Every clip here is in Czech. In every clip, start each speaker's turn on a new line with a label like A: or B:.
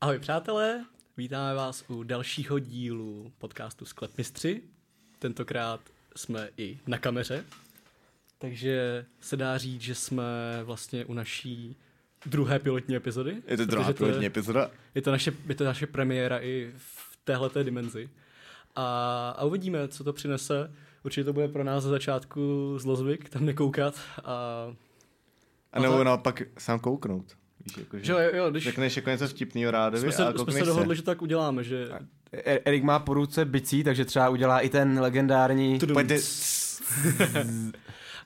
A: Ahoj přátelé, vítáme vás u dalšího dílu podcastu Sklep mistři. Tentokrát jsme i na kameře, takže se dá říct, že jsme vlastně u naší druhé pilotní epizody.
B: Je to
A: protože
B: druhá pilotní
A: je,
B: epizoda.
A: je, to naše, je to naše premiéra i v téhleté dimenzi. A, a uvidíme, co to přinese. Určitě to bude pro nás ze začátku zlozvyk, tam nekoukat. A,
B: A nebo
A: Aha.
B: naopak sám kouknout. Víš, jako,
A: že jo, jo, když
B: Řekneš jako něco vtipného rádovi
A: jsme se,
B: a
A: jsme
B: koukneš
A: se
B: se.
A: dohodli, že to tak uděláme, že...
C: E- Erik má po ruce bicí, takže třeba udělá i ten legendární...
A: Tudum.
B: Pojďte.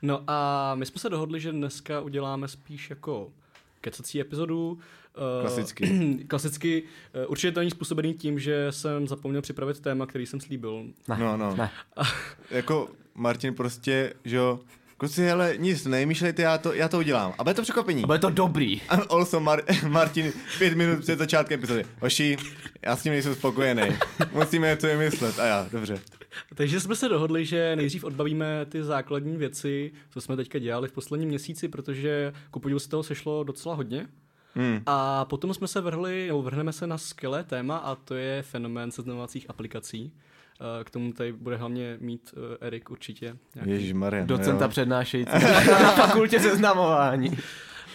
A: No a my jsme se dohodli, že dneska uděláme spíš jako kecací epizodu. eh,
B: Klasicky.
A: klasicky. eh, Určitě to není způsobený tím, že jsem zapomněl připravit téma, který jsem slíbil.
C: Ne,
B: No, no.
C: Ne.
B: Jako Martin prostě, že jo, kluci, hele, nic, nemýšlejte, já to, já to udělám. A bude to překvapení.
C: A bude to dobrý.
B: A also Mar- Martin pět minut před začátkem epizody. Oši, já s tím nejsem spokojený. Musíme něco vymyslet. A já, dobře.
A: Takže jsme se dohodli, že nejdřív odbavíme ty základní věci, co jsme teďka dělali v posledním měsíci, protože ku podivu z toho sešlo docela hodně.
B: Hmm.
A: A potom jsme se vrhli, nebo vrhneme se na skvělé téma a to je fenomén seznamovacích aplikací. Eh, K tomu tady bude hlavně mít eh, Erik určitě. nějaký
B: Maria. no
C: Docenta přednášející na fakultě seznamování.
A: A,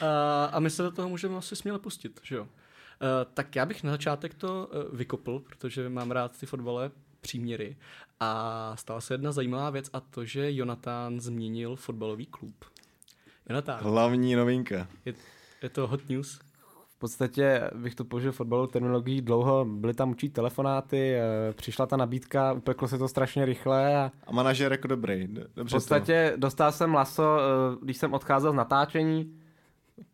A: Eh, a my se do toho můžeme asi směle pustit, že jo? Uh, tak já bych na začátek to uh, vykopl, protože mám rád ty fotbalové příměry. A stala se jedna zajímavá věc a to, že Jonatán změnil fotbalový klub. Jonatán,
B: Hlavní novinka.
A: je, je to hot news?
C: V podstatě bych to použil fotbalovou terminologií dlouho, byly tam určitý telefonáty, eh, přišla ta nabídka, upeklo se to strašně rychle a
B: A manažer jako dobrý. d-
C: v
B: Dobře
C: podstatě dostal jsem laso, eh, když jsem odcházel z natáčení,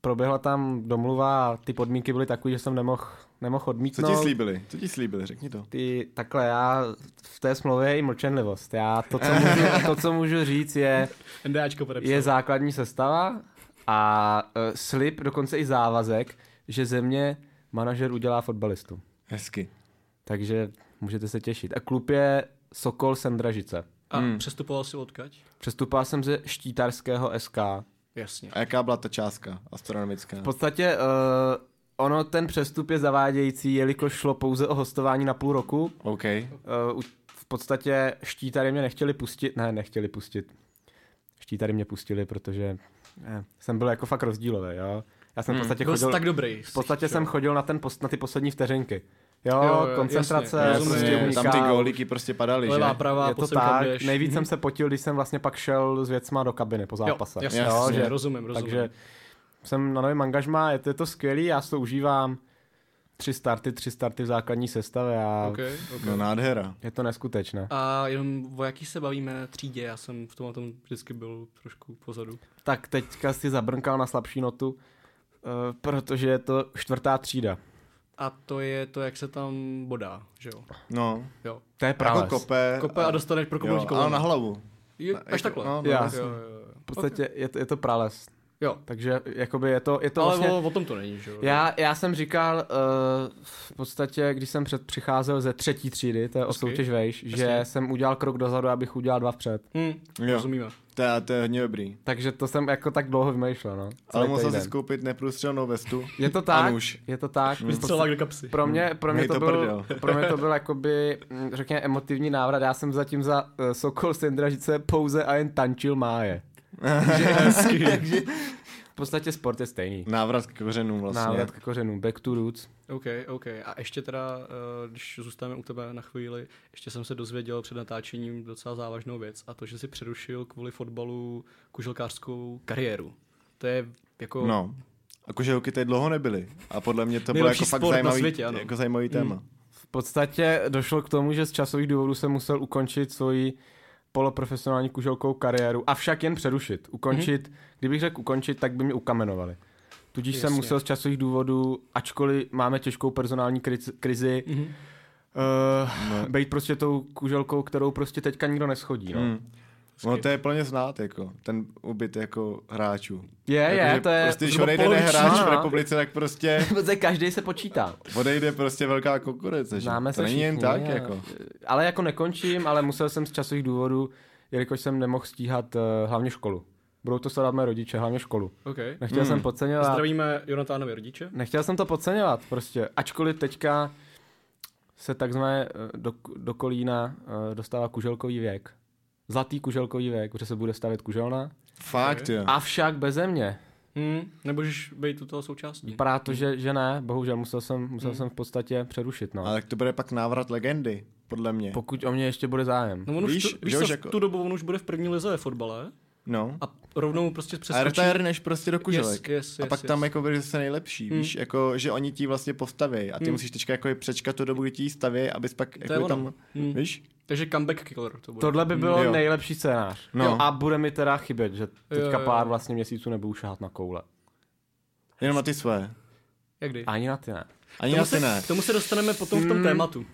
C: proběhla tam domluva a ty podmínky byly takové, že jsem nemohl, nemohl
B: to. Co
C: odmítnout.
A: no.
B: ti slíbili? Co ti slíbili? Řekni to.
C: Ty, takhle já v té smlouvě je i mlčenlivost. Já to, co můžu, to, co můžu říct, je,
A: NDAčko podepsal.
C: je základní sestava a e, slib, dokonce i závazek, že země manažer udělá fotbalistu.
B: Hezky.
C: Takže můžete se těšit. A klub je Sokol Sendražice.
A: A
B: Hmm.
A: přestupoval si odkaď?
C: Přestupal jsem ze štítarského SK.
A: Jasně.
B: A jaká byla ta částka astronomická?
C: V podstatě e, ono, ten přestup je zavádějící, jelikož šlo pouze o hostování na půl roku,
B: OK.
C: Uh, v podstatě štítary mě nechtěli pustit, ne, nechtěli pustit. Štítary mě pustili, protože ne, jsem byl jako fakt rozdílový, jo. Já jsem v podstatě
A: Byl jsi
C: Jako chodil,
A: tak dobrý.
C: v podstatě jsem chodil na, ten post, na ty poslední vteřinky. Jo,
A: Jo,
C: jo,
A: jo,
C: koncentrace,
A: jasně,
C: prostě
A: rozumím.
B: Rozumím,
C: uniká,
B: tam ty gólíky prostě padaly, že?
A: Levá, pravá,
C: je to
A: posilka
C: tak,
A: běž.
C: nejvíc jsem se potil, když jsem vlastně pak šel s věcma do kabiny po
A: Mhm. Jo,
C: zápase.
A: jasně,
B: Jo,
A: jasně,
B: že-
A: rozumím, rozumím.
C: takže jsem na novém angažmá, je to, je to skvělý, já si to užívám. Tři starty, tři starty v základní sestavě a
A: Okay, okay.
B: No nádhera.
C: je to neskutečné.
A: A jenom o jaký se bavíme třídě, já jsem v tomhle tom vždycky byl trošku pozadu.
C: Tak teďka si zabrnkal na slabší notu, eh, protože je to čtvrtá třída.
A: A to je to, jak se tam bodá, že jo?
B: No,
A: Jo.
C: To je
B: jako
C: právě.
B: kope.
A: Kope a dostaneš pro
B: Eh, jo,
A: komunití
B: ale
A: kolem.
B: na hlavu.
A: Jo,
B: Na-
A: až
B: jako-
A: takhle.
B: No,
A: Jo,
B: no,
C: Já.
B: jasně.
A: jo, jo.
C: V podstatě je, to- je to prales.
A: jo.
C: Takže jakoby je to, je to
A: ale
C: vlastně...
A: o, o tom to není, že jo?
C: Já, já jsem říkal eh, v podstatě, když jsem před, přicházel ze třetí třídy, to je o
A: Hezky.
C: soutěž vejš, že
A: Jasně.
C: jsem udělal krok dozadu, abych udělal dva vpřed.
A: Hm,
B: Jo. Mm,
A: rozumíme.
B: To, je- to je hodně dobrý.
C: Takže to jsem jako tak dlouho vymýšlel, no.
B: Ale
C: Celý
B: musel
C: týden.
B: si skoupit neprůstřelnou vestu.
C: Je to
B: A
C: tak,
B: nůž.
C: je to tak. V podstatě-
A: Vystřelák do kapsy.
C: Pro mě, pro mě,
B: Měj
C: to,
B: to
C: byl,
B: prdel.
C: pro mě to byl jakoby, mm, řekněme, emotivní návrat. Já jsem zatím za uh, Sokol Sendražice pouze a jen tančil máje.
A: Hezky.
C: V podstatě sport je stejný.
B: Návrat k kořenům vlastně.
C: Návrat k kořenům, back to roots.
A: OK, OK. A ještě teda, eh, když zůstaneme u tebe na chvíli, ještě jsem se dozvěděl před natáčením docela závažnou věc a to, že jsi přerušil kvůli fotbalu kuželkářskou kariéru. To je jako...
B: No. A kožehuky tady dlouho nebyly. A podle mě to bylo
A: Nejlepší
B: jako fakt
A: sport na
B: zajímavý,
A: světě, ano. Mm.
B: jako zajímavý téma.
C: V podstatě došlo k tomu, že z časových důvodů jsem musel ukončit svoji poloprofesionální kuželkou kariéru. Avšak jen přerušit. Ukončit, kdybych řekl ukončit, tak by mě ukamenovali. Tudíž jsem
A: Mhm. Jasně.
C: musel z časových důvodů, ačkoliv máme těžkou personální krizi, krizi
A: Mhm.
C: Uh, být prostě tou kuželkou, kterou prostě teďka nikdo neschodí. No.
B: Hmm. No to je plně znát, jako, ten ubyt jako hráčů.
C: Je,
B: jako,
C: je,
B: že
C: to je...
B: Prostě, když
A: zhruba
B: odejde
A: poloviční,
B: hráč v
C: no.
B: republice, tak prostě
C: Prostě... Každý se počítá.
B: odejde prostě velká konkurence. Že?
C: Známe
B: to
C: se
B: není
C: všichni,
B: jen tak,
C: je.
B: jako.
C: Ale jako nekončím, ale musel jsem z časových důvodů, jelikož jsem nemohl stíhat uh, hlavně školu. Budou to sledovat mé rodiče, hlavně školu.
A: OK.
C: Nechtěl
A: Hmm.
C: jsem podceňovat.
A: Zdravíme Jonatánovi rodiče.
C: Nechtěl jsem to podceňovat prostě, ačkoliv teďka se takzvané eh, do, do kolína eh, dostává kuželkový věk. Zlatý kuželkový věk, protože se bude stavět kuželna.
B: Fakt, jo.
C: Avšak beze mě,
A: Hmm, nemůžeš být u toho součástí.
C: vypadá to, že, že ne, bohužel musel jsem, musel
A: Hmm.
C: jsem v podstatě přerušit. No.
B: Ale tak to bude pak návrat legendy, podle mě.
C: Pokud o mě ještě bude zájem.
A: No on
B: Víš,
A: už, tu, víš
B: že
A: co,
B: už
A: v
B: jako-
A: tu dobu on už bude v první lize ve fotbale
B: No.
A: a rovnou prostě přeskočí.
B: A returneš prostě do kuželek.
A: Yes, yes,
B: a
A: yes,
B: pak
A: yes. Hmm.
B: tam jako budeš zase nejlepší, víš, jako, že oni ti vlastně postaví a ty musíš teďka jako je přečkat tu dobu, kdy ti ji staví, abys pak
A: je
B: jako
A: ono.
B: tam,
A: Hmm.
B: víš?
A: Takže comeback killer to bude.
C: Tohle by bylo
B: Jo.
C: jo. nejlepší scénář.
B: No.
C: Jo. A bude mi teda chybět, že teďka
A: Jo, jo.
C: pár vlastně měsíců nebudu šahat na koule.
B: Jenom na ty své.
A: Jak kdy?
C: Ani na ty ne.
B: Ani
A: K
B: na
A: tomu se,
B: ty ne.
A: k tomu se dostaneme potom v tom tématu.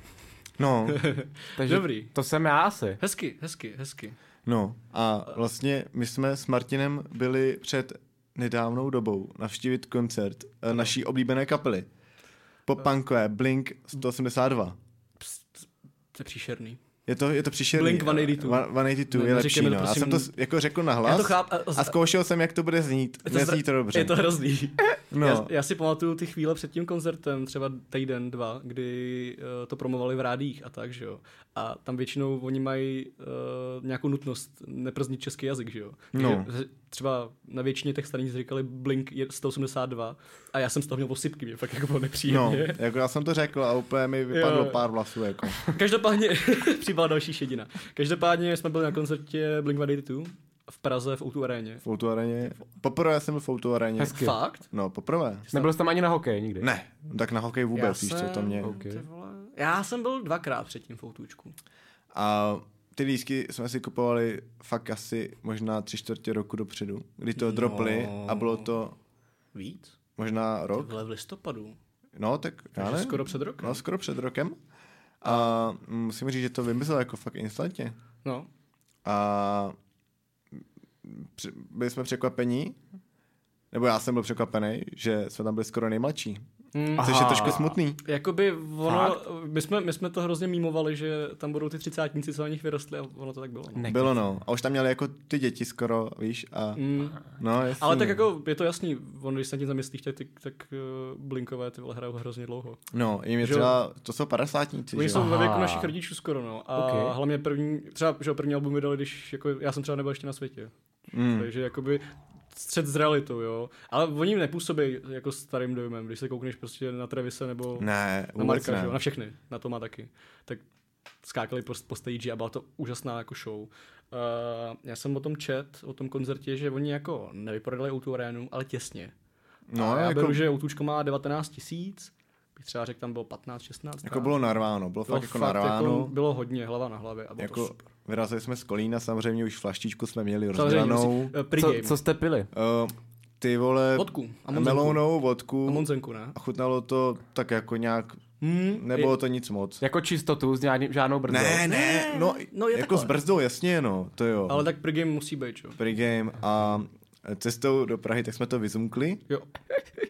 B: No,
C: Takže
A: Dobrý.
C: to jsem já asi.
A: Hezky, hezky, hezky.
B: no. A vlastně my jsme s Martinem byli před nedávnou dobou navštívit koncert eh, naší oblíbené kapely.
A: Eh,
B: Popankové Blink 182.
A: To je příšerný.
B: Je to, je to příšerný. eh,
A: Blink 182.
B: One- 182 je
A: Ne,
B: lepší,
A: neříkej mi
B: no.
A: to,
B: Já
A: prosím.
B: jsem to s- jako řekl nahlas
A: Já to chápu, a-
B: a zkoušel jsem, jak to bude znít.
A: Je
B: Nezní to
A: zra-
B: dobře.
A: Je to hrozný.
B: No.
A: Já, já si pamatuju ty chvíle před tím koncertem, třeba týden, dva, kdy uh, to promovali v rádích a tak, že jo. A tam většinou oni mají uh, nějakou nutnost neprznit český jazyk, že jo. Takže
B: No.
A: z- Třeba na většině těch stanic říkali Blink je 182 a já jsem z toho měl posypky, mě fakt jako bylo
B: No,
A: nepříjemně.
B: jako já jsem to řekl a úplně mi vypadlo
A: Jo.
B: pár vlasů, jako.
A: Každopádně přibyla další šedina. Každopádně jsme byli na koncertě Blink-182 v Praze v O2 aréně.
B: V Outu areně. Poprvé jsem byl v Outu areně.
C: Hezky.
A: Fakt?
B: No, poprvé.
C: Nebyl jsi tam ani na hokej nikdy.
B: Ne, tak na hokej
A: Já
B: vůbec, víš co,
A: jsem-
B: to mě.
C: Ok.
A: ty vole, Já jsem byl dvakrát předtím v Outůčku.
B: A ty lísky jsme si kupovali fakt asi možná tři čtvrtě roku dopředu, kdy to dropli a bylo to
A: Víc?
B: možná rok.
A: Tohle v listopadu.
B: No, tak já
A: Takže
B: ne.
A: skoro před rokem.
B: No, skoro před rokem. A musím říct, že to vymyslel jako fakt instantně.
A: No.
B: A při- byli jsme překvapení, nebo já jsem byl překvapený, že jsme tam byli skoro nejmladší.
A: Mm,
B: Což je
C: Aha.
B: trošku smutný.
A: jakoby ono, my jsme, my jsme to hrozně mímovali, že tam budou ty třicátníci, co na nich vyrostli a ono to tak bylo. No.
C: Ne.
B: Bylo no. A už tam měli jako ty děti skoro, víš, a
A: Mm.
B: no jasný.
A: Ale tak jako je to jasný, on když se tím zamyslíš, tak, tak, tak eh, blinkové ty vole hrajou hrozně dlouho.
B: No, jim je
A: Že-
B: třeba, to jsou padesátníci,
A: Oni
B: že
A: jsou
B: jo?
A: ve
C: Aha.
A: věku našich rodičů skoro, no. A
C: Ok.
A: okay. hlavně první, třeba, že jo, první album vydali, když, jako, já jsem třeba nebyl ještě na světě.
B: Mm.
A: Mm. Takže jakoby střed s realitou, jo. Ale oni nepůsobí jako starým dojmem, když se koukneš prostě na Trevise nebo
B: Ne,
A: na
B: vůbec
A: Marka, že jo, na
B: ne.
A: všechny, na to má taky. Tak skákali po, po stage a byla to úžasná jako show. Uh, já jsem o tom čet, o tom koncertě, že oni jako nevyprodali Outu arénu, ale těsně.
B: No,
A: a já
B: jako,
A: beru, že Outučko má 19 tisíc, bych třeba řekl, tam bylo 15, 16.
B: jako bylo narváno, bylo, fakt jako narváno.
A: No, jako bylo hodně hlava na hlavě. A bylo to
B: Jako,
A: super.
B: vyrazili jsme z Kolína, samozřejmě už flaštičku jsme měli
A: Samozřejmě,
B: rozdělanou.
A: musí, eh,
C: Co,
A: pregame.
C: co jste pili?
B: Eh, ty vole,
A: Vodku a monzenku.
B: melounou
A: A
B: vodku
A: Monzenku, ne?
B: a chutnalo to tak jako nějak,
A: Hmm,
B: nebylo to nic moc.
C: Jako čistotu s žádný, žádnou brzdou?
B: Ne, ne, no,
A: no, je
B: jako
A: takhle.
B: s brzdou, jasně, no, to jo.
A: ale tak pregame musí být, jo.
B: Pre-game a cestou do Prahy, tak jsme to vyzumkli,
A: jo.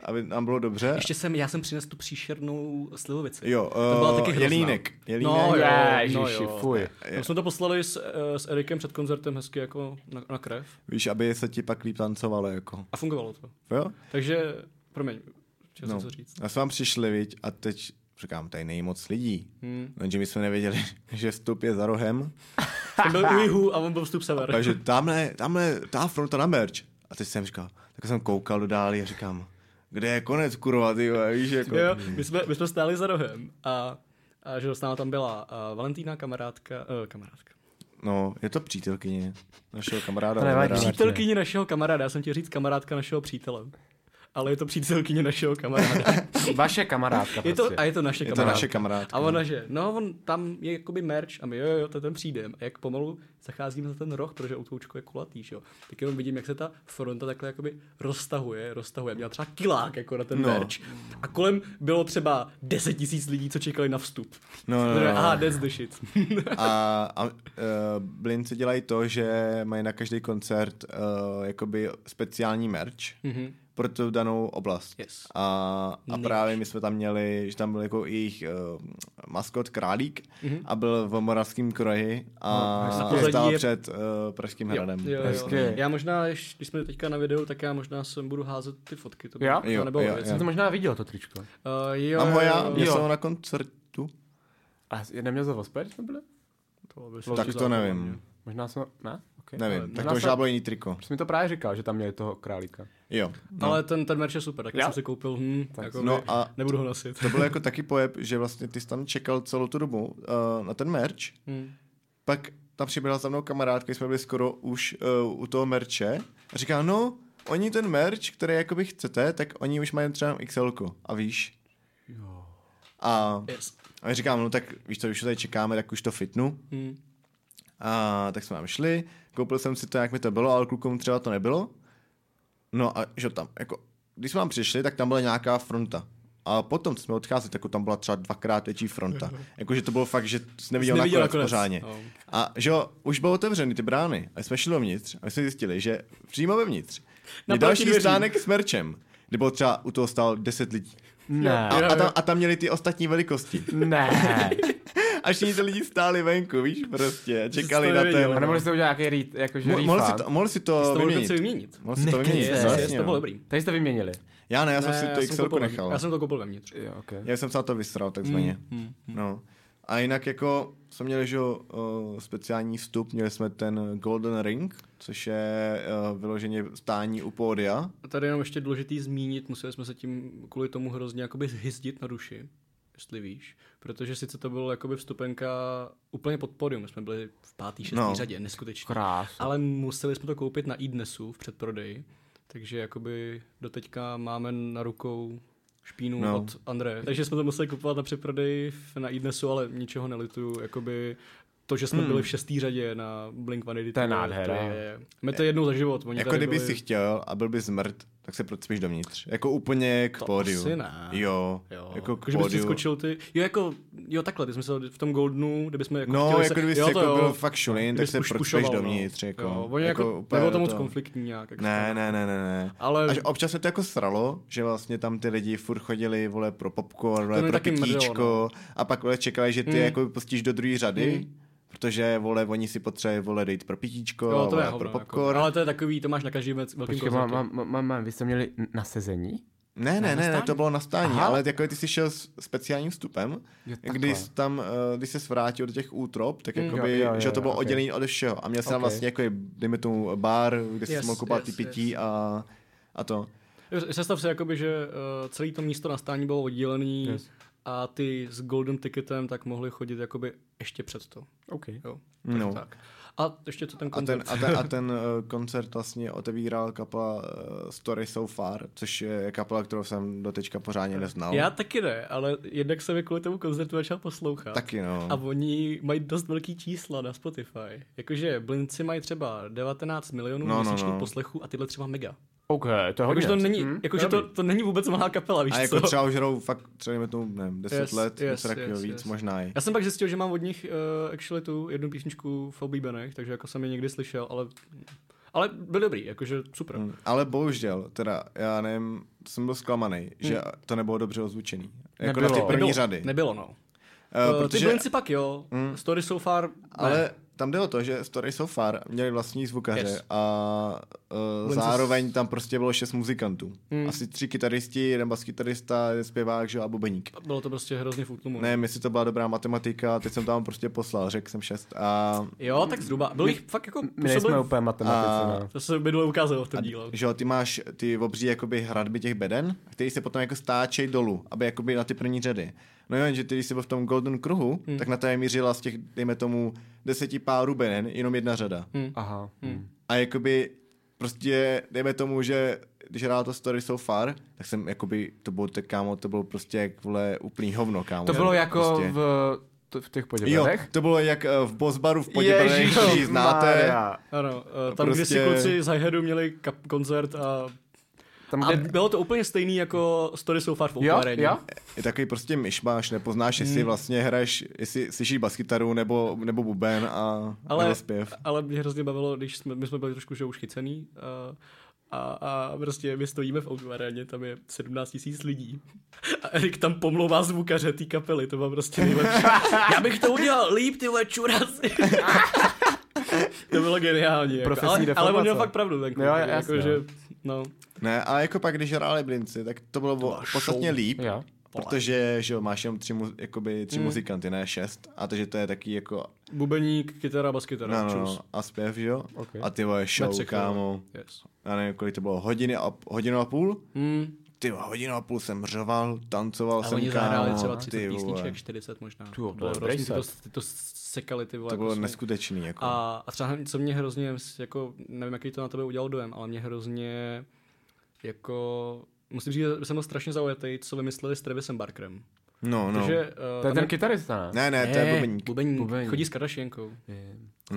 B: aby nám bylo dobře.
A: Ještě jsem, já jsem přinesl tu příšernou slivovici.
B: Jo,
A: To byla
B: eh,
A: taky hrozná.
B: jelínek. Jelínek.
A: No, jo, no,
C: Ježiši,
A: jo.
C: fuj.
A: My jsme to poslali s, eh, s Erikem před koncertem hezky jako na, na krev
B: Víš, aby se ti pak líp tancovalo, jako.
A: a fungovalo to.
B: Jo?
A: Takže, promiň, chtěl jsem
B: No.
A: co říct.
B: A jsme vám přišli, viď, a teď říkám, tady není moc lidí.
A: Hmm.
B: Jenže my jsme nevěděli, že vstup je za rohem.
A: Ten byl u jihu a on byl vstup sever.
B: Takže tamhle, tamhle, ta fronta na merch. A teď jsem říkal, tak jsem koukal do dálí a říkám, kde je konec, kurva, ty vole, víš, jako.
A: Jo, my, jsme, my jsme stáli za rohem a, a že s náma tam byla a Valentína, kamarádka, uh, kamarádka.
B: No, je to přítelkyně našeho kamaráda.
C: To nevadí.
B: Olivera.
C: Přítel-
A: Přítelkyně našeho kamaráda, já jsem chtěl říct kamarádka našeho přítele. Ale je to přítelkyně našeho kamaráda.
C: Vaše kamarádka
A: Je
C: prostě.
A: to, a je to naše
B: Je to
A: kamarádka.
B: naše kamarádka.
A: A ona, že no, on tam je jakoby merch a my jo, jo, to je ten přijdem. A jak pomalu zacházíme za ten roh, protože autoučko je kulatý, že jo. Tak jenom vidím, jak se ta fronta takhle jakoby roztahuje, roztahuje. Měla třeba kilák jako na ten
B: No.
A: no. merch. A kolem bylo třeba 10 tisíc lidí, co čekali na vstup.
B: No, no,
A: Protože,
B: no.
A: Aha, that's the shit.
B: A, a uh, Blinci dělají to, že mají na každý koncert uh, jakoby speciální e, merch. Mm-hmm. pro tu danou oblast.
A: Mhm. Yes.
B: A, a
A: Nejvíc.
B: právě my jsme tam měli, že tam byl jako jejich uh, maskot Králík
A: Mhm.
B: a byl v moravském kroji a
A: hezky. Na
B: no,
A: pozadí
B: stál
A: je-
B: před uh, Pražským hradem.
A: Jo,
C: Hezky.
A: jo. Já možná, ještě- když jsme teďka na videu, tak já možná sem budu házet ty fotky. To by,
C: Jo?
A: To nebylo
B: Jo, jo,
A: věc.
B: jo.
C: Jsem to možná viděl, to tričko.
A: Uh, jo,
B: Mám ho já,
A: jo,
B: měl
A: jo.
B: jsem ho na koncertu.
C: A je neměl za Vosper, jsme byli?
A: To by se
B: Tak to
A: zábavně.
B: nevím.
C: Možná jsme, ne? Okay.
B: Nevím,
A: Ale
B: tak
C: možná
B: to
C: se-
B: možná bylo jiný triko.
C: Jsi mi to právě říkal, že tam měli toho králíka.
B: Jo.
A: No. Ale ten, ten merch je super, tak
C: Jo?
A: jsem si koupil, hm, tak jako
B: No
A: by-
B: a-
A: nebudu ho nosit.
B: To byl jako taky pojeb, že vlastně ty jsi tam čekal celou tu dobu uh, na ten merch,
A: Hm.
B: pak tam přiběhla za mnou kamarádka, jsme byli skoro už uh, u toho merče a říká, no, oni ten merch, který jakoby chcete, tak oni už mají třeba xl a víš.
C: Jo.
B: A,
A: Yes.
B: a my říkám, no tak víš co, už tady čekáme, tak už to fitnu.
A: Hm.
B: A tak jsme tam šli, koupil jsem si to, jak mi to bylo, ale klukům třeba to nebylo. No a že tam, jako, když jsme tam přišli, tak tam byla nějaká fronta. A potom, co jsme odcházeli, tak tam byla třeba dvakrát větší fronta. Jakože to bylo fakt, že jsi neviděl,
A: Jsi neviděl
B: nakonec,
A: nakonec,
B: pořádně.
A: no.
B: A že jo, už bylo otevřeny ty brány. A jsme šli dovnitř a my jsme zjistili, že přímo vevnitř je
A: Naproti
B: další
A: dveřím.
B: stánek s merčem, kde bylo třeba u toho stál 10 lidí.
C: Ne.
B: A, a, tam, a tam měli ty ostatní velikosti.
C: Ne.
B: A všichni ty lidi stáli venku, víš, prostě, a čekali
A: to
B: na
A: nevěděl,
B: ten...
C: A nemohli jste udělat nějaký rít, jakože
B: Mo-
C: refund.
B: mohl, si to, mohl si
A: To
B: to
A: mohl dokonce
B: Uh, vyměnit.
A: vyměnit.
B: Mohl si to
C: Nekeci.
B: vyměnit.
A: Yes,
B: no,
A: yes,
B: jasně,
A: to bylo
B: no.
A: dobrý.
C: Tady jste vyměnili.
B: Já ne, já jsem si
A: já
B: to
A: jsem
B: XL
A: koupil-
B: nechal.
A: Já jsem Hmm, to koupil vevnitř.
C: Jo, okay.
B: Já jsem se na to vysral takzvaně. No. A jinak jako jsme měli že, jo, eh, speciální vstup, měli jsme ten Golden Ring, což je eh, vyloženě stání u pódia.
A: Tady jenom ještě důležitý zmínit, museli jsme se tím kvůli tomu hrozně jakoby hyzdit na duši, jestli víš. Protože sice to bylo jakoby vstupenka úplně pod podium, jsme byli v pátý, šestý
B: No.
A: řadě, neskutečně.
C: Krás.
A: Ale museli jsme to koupit na e-dnesu v předprodeji, takže jakoby doteďka máme na rukou špínu
B: No.
A: no. od Andreje. Takže jsme to museli kupovat na předprodeji v- na e-dnesu, ale ničeho nelituju, jakoby to, že jsme hmm. byli v šestý řadě na Blink-182.
C: To je nádhera.
A: To je, my to jednou za život. Oni
B: Jako
A: tady
B: kdyby
A: byli...
B: si chtěl a byl by zmrt, tak se procpíš dovnitř. Jako úplně k
A: To
B: pódiu.
A: asi ne.
B: Jo,
A: Jo,
B: jako k
A: že bys
B: pódiu.
A: skočil ty, jo jako, jo takhle, ty jsme se v tom Goldnu, kdybychom jako
B: No,
A: chtěli
B: jako
A: se,
B: kdyby jsi
A: jo,
B: jako
A: to jo,
B: byl fakt šulin, tak
A: kdybys
B: se
A: puš-
B: procpíš
A: pušoval, no.
B: dovnitř. Jako,
A: jo, oni jako,
B: úplně
A: nebylo to moc
B: do toho.
A: konfliktní nějak. Jako
B: Ne, ne, ne, ne, ne.
A: Ale-
B: Až občas se to jako sralo, že vlastně tam ty lidi furt chodili, vole, pro popcorn,
A: To
B: vole,
A: mě
B: pro
A: taky mrzelo, no. Hmm.
B: pitíčko a pak, vole, čekali, že ty jako pustíš do druhé řady, protože, vole, oni si potřebují, vole, dejt pro pitíčko a
A: Jo, to
B: vole,
A: je
B: pro
A: hovno,
B: popcorn.
A: jako, ale to je takový, to máš na každý vec- velkým
C: Počkej,
A: koncertu.
C: mám, mám, mám, mám, vy jste měli na sezení?
B: Ne, ne,
C: na
B: ne, ne,
C: stání?
B: to bylo na stání,
C: Aha.
B: ale jako ty jsi šel s speciálním vstupem,
C: Jo, takhle.
B: když jsi tam, eh, když se vrátil do těch útrop,
A: Mm.
B: tak jakoby,
C: Jo, jo, jo,
B: že to bylo
C: jo, ok.
B: oddělený ode všeho a měl jsi tam
C: Ok.
B: vlastně jako, dejme tomu, bar, kde jsi
A: Yes,
B: mohl kupovat ty
A: yes,
B: pití a, a to.
A: Představ si, jakoby, že uh, celé to místo na stání bylo oddělený
C: Yes.
A: a ty s Golden Ticketem tak mohli chodit jakoby ještě před to.
C: OK.
A: Jo.
B: No.
A: Tak. A ještě to ten
B: A ten,
A: koncert.
B: a ten, a ten eh, koncert vlastně otevíral kapela uh, Story So Far, což je kapela, kterou jsem doteďka pořádně neznal.
A: Eh, Já taky ne, ale jednak jsem je kvůli tomu koncertu začal poslouchat.
B: Taky no.
A: A oni mají dost velký čísla na Spotify. Jakože blinci mají třeba 19 milionů
B: No,
A: no,
B: no,
A: měsíčních
B: no. Mhm.
A: no, no. poslechů a tyhle třeba mega.
C: OK, to je hodně.
A: Jakože to není,
C: Hm,
A: jakože
C: dobrý.
A: to, to není vůbec malá kapela, víš
B: A jako
A: co?
B: třeba už hrajou fakt, třeba dejme tomu, nevím, 10
A: Yes,
B: let,
A: yes,
B: něco takového
A: yes,
B: víc
A: yes.
B: možná i.
A: Já jsem pak zjistil, že mám od nich uh, actually tu jednu písničku v oblíbených, takže jako jsem je někdy slyšel, ale, ale byl dobrý, jakože super.
C: Hmm.
B: Mm, Ale bohužel, teda, já nevím, jsem byl zklamaný, že to nebylo dobře ozvučený. Jako na
C: Nebylo.
B: ty první
A: Mm. nebylo,
B: řady.
A: Nebylo, no.
B: Eh,
A: Uh, Ty
B: protože,
A: blinci pak jo,
C: Hmm.
A: mm. story so far, ne.
B: ale tam jde o to, že Story So Far měli vlastní zvukaře
A: Yes.
B: a uh,
A: Blinci s- Mm.
B: zároveň tam prostě bylo šest muzikantů. Asi tři kytaristi, jeden baskytarista, jeden zpěvák že, jo, a bubeník.
A: bylo to prostě hrozně v útlumu.
B: Ne, jestli to byla dobrá matematika, teď jsem tam prostě poslal, řekl jsem šest. A,
A: Jo, tak zhruba. Byl jich fakt jako...
C: My nejsme
A: působili-
C: úplně matematici,
B: A-
C: no.
A: To se minule ukázalo v tom díle.
B: že jo, ty máš ty obří jakoby hradby těch beden, který se potom jako stáčej dolů, aby jakoby na ty první řady. No jo, že ty, když jsi byl v tom golden kruhu, hmm. tak na té mířila z těch, dejme tomu, deseti párů beden, jenom jedna řada. Hmm.
C: Aha. hm.
B: A jakoby prostě, dejme tomu, že když hrál to Story So Far, tak jsem jakoby, to bylo, tak, kámo, to bylo prostě jak vole úplný hovno, kámo.
C: To bylo jako
B: prostě.
C: v, t- v těch
B: Jo,
C: poděbrech?
B: to bylo jak eh, v Bozbaru v Poděbrech, když znáte.
A: Ano,
C: No,
A: eh, tam, prostě... kde
B: Prostě-
A: si kluci z Highheadu měli kap- koncert a,
C: Tam,
A: a
C: kde...
A: bylo to úplně stejný jako Story So Far v
C: Jo,
A: Aréně.
C: jo?
B: Je takový prostě myšmaš, nepoznáš,
A: Hmm.
B: jestli vlastně hraješ, jestli slyšíš baskytaru nebo, nebo buben a
A: Ale,
B: nebo zpěv.
A: ale mě hrozně bavilo, když jsme, my jsme byli trošku že už chycený, eh, A, a prostě my stojíme v Outu aréně, tam je 17 tisíc lidí. A Erik tam pomlouvá zvukaře té kapely, to má prostě nejlepší. Já bych to udělal líp, ty vole čuraci. to bylo geniální. Jako.
C: Profesní
A: Ale, ale on měl
C: deformace.
A: fakt pravdu. Ten kluk,
C: Jo,
A: jako,
C: jasně.
A: že, no.
B: Ne, a jako pak, když hráli blinci, tak to bylo to podstatně
A: show.
B: líp,
C: Jo.
B: protože že jo, máš jenom tři, mu, jakoby,
A: Hmm.
B: tři muzikanty, ne šest, a takže to je taky jako,
A: Bubeník, kytara, baskytara,
B: no, no,
A: čus.
B: no, a zpěv, že jo,
C: Okay.
B: a ty vole show,
A: Mecek,
B: kámo,
A: Yes.
B: já nevím, kolik to bylo, hodiny a, hodinu a půl,
A: Hmm.
B: ty vole, hodinu a půl jsem řval, tancoval
A: A
B: jsem,
A: oni
B: kámo,
A: zahráli třeba 30
B: no, ty vole.
A: písniček, 40 možná.
C: Ty jo, to
A: Bylo
C: je
A: hrozný, ty, to,
C: brejset.
A: ty to sekali ty vole.
B: to bylo
A: jako smy.
B: neskutečný, jako.
A: A, a třeba hlavně, co mě hrozně, jako, nevím, jaký to na tebe udělal dojem, ale mě hrozně, jako, musím říct, že jsem byl strašně zaujatý, co vymysleli s Travisem Barkerem.
B: No, no.
A: Protože, eh,
C: To je
A: tam
C: ten kytarista,
B: Ne,
C: ne?
B: ne, to je bubeník.
A: bubeník.
C: Bubeník.
A: Chodí s Kardashiankou. Chodí,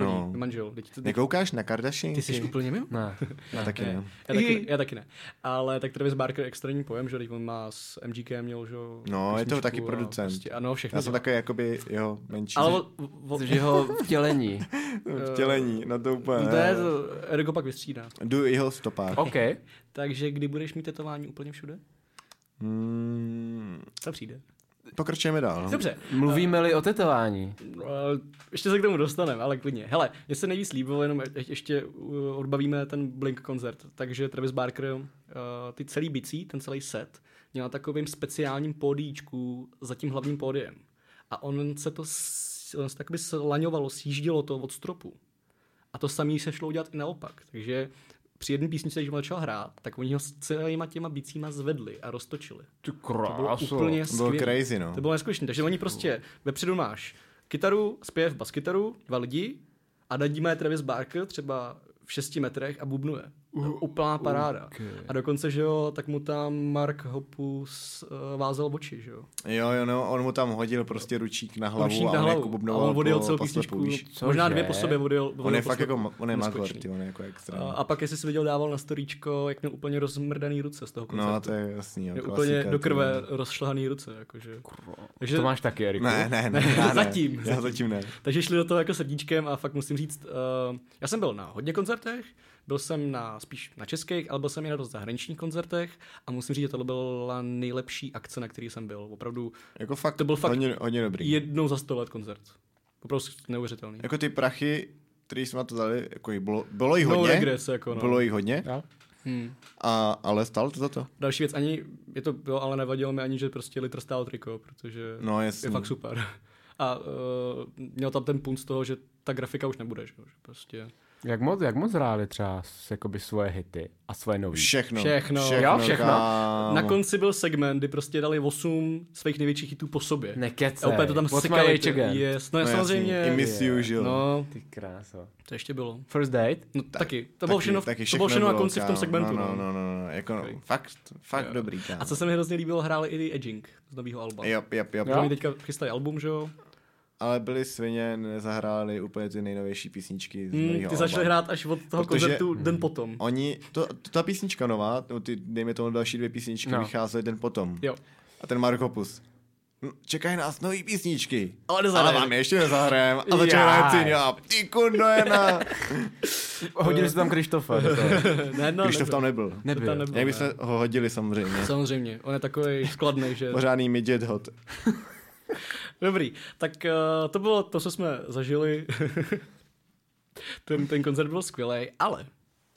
B: No.
A: manžel. Teď, ty,
B: Nekoukáš na
A: ty
B: Kardashianky?
A: jsi úplně mimo?
C: Ne.
B: Já taky ne.
A: Já taky, ne, já taky ne. Ale tak Travis Barker je extrémní pojem, že jo, teď on má s MGK měl, že jo,
B: No, je to
A: písničku
B: taky
A: a
B: producent.
A: Prostě, ano, všechno.
B: Já jsem
A: dělá.
B: takový, jakoby, jo, menší
A: Ale o, o,
D: Což jeho vtělení.
B: vtělení, na to úplně.
A: eh, to je, to, Ergo pak vystřídá.
B: Jdu jeho stopách.
C: OK.
A: Takže kdy budeš mít tetování úplně všude?
B: Hmm,
A: To přijde.
B: pokračujeme dál. no.
A: Dobře,
D: Mluvíme-li o tetování.
A: No, ale ještě se k tomu dostaneme, ale klidně. Hele, mně se nejvíc líbilo, jenom je- ještě uh, odbavíme ten Blink koncert, takže Travis Barker uh, ty celý bicí, ten celý set, měl na takovým speciálním pódíčku za tím hlavním pódiem. A on se to s- on se takoby slaňovalo, sjíždělo to od stropu. A to samé se šlo udělat i naopak. Takže při jedné písničce, když on začal hrát, tak oni ho s celýma těma bicíma zvedli a roztočili.
C: Ty
A: To bylo
C: krásu.
A: úplně
B: To bylo
A: skvělý.
B: crazy, no.
A: To bylo neskutečné. Takže oni prostě vepředu máš kytaru, zpěv, baskytaru, dva lidi a nadíme je Travis Barker třeba v šesti metrech a bubnuje. Uh, Úplná paráda. A dokonce, že jo, tak mu tam Mark Hopus uh, vázel oči, že jo.
B: Jo, jo, no, on mu tam hodil prostě ručík na hlavu
A: Ručník
B: a
A: na
B: on jako
A: hlavu. A
B: bubnoval
A: on odjel
B: po-
A: celou
B: po slepu,
A: písničku.
B: víš.
D: Cože?
A: Možná dvě po sobě odjel.
B: On
A: odjel
B: je
A: po
B: fakt
A: slepu.
B: jako, on je magor,
A: Neskutečný.
B: ty, on je jako
A: A,
B: extra.
A: a pak, jestli jsi viděl, dával na storíčko, jak měl úplně rozmrdaný ruce z toho koncertu.
B: No, to je jasný, jo,
A: Měl
B: klasika,
A: úplně do
B: ty
A: krve
B: vole.
A: rozšlehaný ruce, jakože. Takže
C: To máš taky, Eriku.
B: Ne, ne, ne, já ne.
A: Zatím.
B: Já zatím ne.
A: Takže šli do toho jako srdíčkem a fakt musím říct, uh, já jsem byl na hodně koncertech, byl jsem na spíš na českých, ale byl jsem i na dost zahraničních koncertech a musím říct, že tohle byla nejlepší akce, na který jsem byl. Opravdu
B: Jako fakt,
A: To byl fakt
B: hodně, hodně dobrý.
A: jednou za sto let koncert. Opravdu neuvěřitelný.
B: Jako ty prachy, který jsme na to dali, jako jich bylo, bylo jich
A: No
B: hodně.
A: regress, jako no.
B: Bylo jich hodně,
C: Jo?
A: Hmm.
B: a, ale stál to za to.
A: Další věc, ani, je to bylo, ale nevadilo mi ani, že prostě litr stál triko, protože
B: No
A: je
B: jasný.
A: fakt super. A uh, měl tam ten punc toho, že ta grafika už nebude, že, jo, že prostě
C: Jak moc, jak moc hráli třeba s- jakoby svoje hity a svoje nový?
B: Všechno.
A: Všechno.
B: No. Všechno,
C: Jo, všechno.
B: Kámo.
A: Na konci byl segment, kdy prostě dali 8 svých největších hitů po sobě.
C: Nekecej.
A: A úplně to tam
C: What's my
A: sekali.
C: age again?
A: Yes, no,
B: No
A: no
B: jasný,
A: samozřejmě.
B: I miss you, že jo.
A: No,
C: Ty kráso.
A: to ještě bylo.
C: First date?
A: No tak, taky. To bylo všechno, taky to bylo všechno na konci v tom
B: kámo.
A: segmentu.
B: No, no, no, no, no. Jako,
A: Dobrý.
B: fakt, fakt
A: Jo.
B: dobrý, kámo.
A: A co se mi hrozně líbilo, hráli i The Edging z nového alba.
B: Jop, jop, jop.
C: Jo?
A: Oni teďka chystají album, že jo?
B: Ale byli svině, nezahráli úplně ty nejnovější písničky z
A: Mm,
B: novýho
A: ty začali
B: alba.
A: hrát až od toho
B: Protože- Hmm.
A: koncertu den potom.
B: Oni, to, to, ta písnička nová, no, ty, dejme tomu další dvě písničky, no.
C: No.
B: vycházely den potom.
A: Jo.
B: A ten Markopus. "No, Čekají nás nový písničky.
A: Ale nezahrajeme.
B: Ale vám je ještě nezahrajem. A začal hrát ty, jo, a ty kundo je na.
A: Eh,
C: Hodili se tam Krištofa. do toho.
A: ne, no,
B: Krištof tam nebyl.
A: nebyl. Tam
C: Nebyl.
A: nebyl ne.
B: Jak bychom ho hodili samozřejmě.
A: Samozřejmě, on je takový skladný, že...
B: Pořádný midget hot.
A: Dobrý, tak uh, to bylo to, co jsme zažili. ten, ten koncert byl skvělý, ale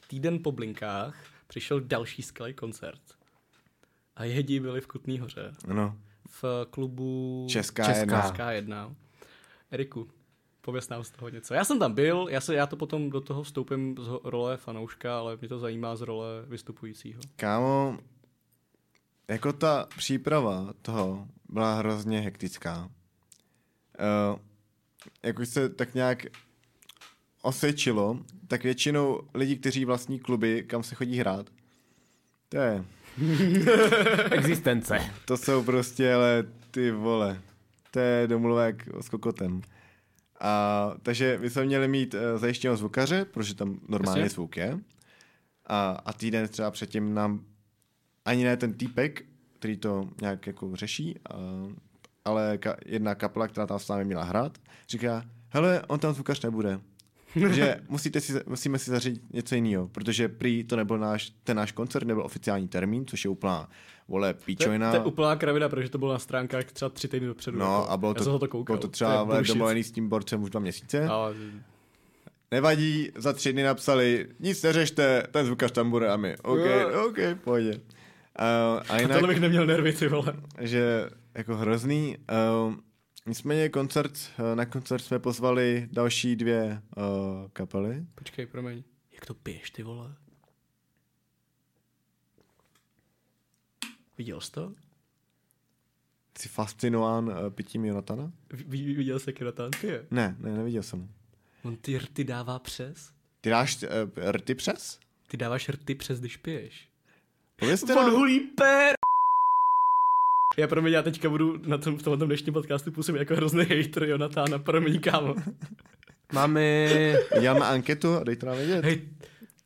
A: týden po Blinkách přišel další skvělý koncert. A jehdi byli v Kutný hoře,
B: No.
A: v klubu
B: Česká
A: Česká
B: jedna.
A: Česká jedna. Eriku, pověz nám z toho něco. Já jsem tam byl, já, se, já to potom do toho vstoupím z ho- role fanouška, ale mě to zajímá z role vystupujícího.
B: Kámo, jako ta příprava toho byla hrozně hektická. Uh, jako se tak nějak osvědčilo, tak většinou lidi, kteří vlastní kluby, kam se chodí hrát, to je,
C: Existence.
B: to jsou prostě, ale ty vole, to je domluvek s kokotem. A, takže my jsme měli mít uh, zajištěného zvukaře, protože tam normálně
A: Jasně.
B: zvuk je. A, a týden třeba předtím nám ani ne ten týpek, který to nějak jako řeší, a, ale ka, jedna kapela, která tam s námi měla hrát, říká, hele, on tam zvukař nebude. že musíte si, musíme si zařídit něco jiného, protože prý to nebyl náš, ten náš koncert nebyl oficiální termín, což je úplná, vole,
A: To, je-
B: píčovina.
A: to je úplná kravina, protože to bylo na stránkách třeba tři týdny dopředu. jako
B: No a bylo
A: Já jsem
B: to,
A: na to koukal.
B: bylo to
A: To
B: třeba
A: je
B: vole,
A: bullshit. No.
B: domluvený s tím borcem už dva měsíce.
A: Ale
B: Nevadí, za tři dny napsali, nic neřešte, ten zvukař tam bude a my. OK,
C: Jo.
B: OK, v pohodě. Uh, a
A: na
B: jinak,
A: tohle bych neměl nervy, ty vole.
B: že jako hrozný. Uh, nicméně koncert, eh, na koncert jsme pozvali další dvě uh, kapely.
A: Počkej, promiň. Jak to piješ, ty vole? Viděl jsi to?
B: Jsi fascinován uh, pitím Jonatana?
A: Vi- vi- Viděl jsi, jak je na tam? Ty je.
B: Ne, ne, neviděl jsem. ho.
A: On ty rty dává přes.
B: Ty dáš uh, rty přes?
A: Ty dáváš rty přes, když piješ.
B: Povězte nám.
A: per! Já promiň, já teďka budu na tom, v tomhle dnešním podcastu působit jako hrozný hater Jonatána, promiň kámo.
C: Mami.
B: Děláme anketu a dejte nám vědět.
A: Hej,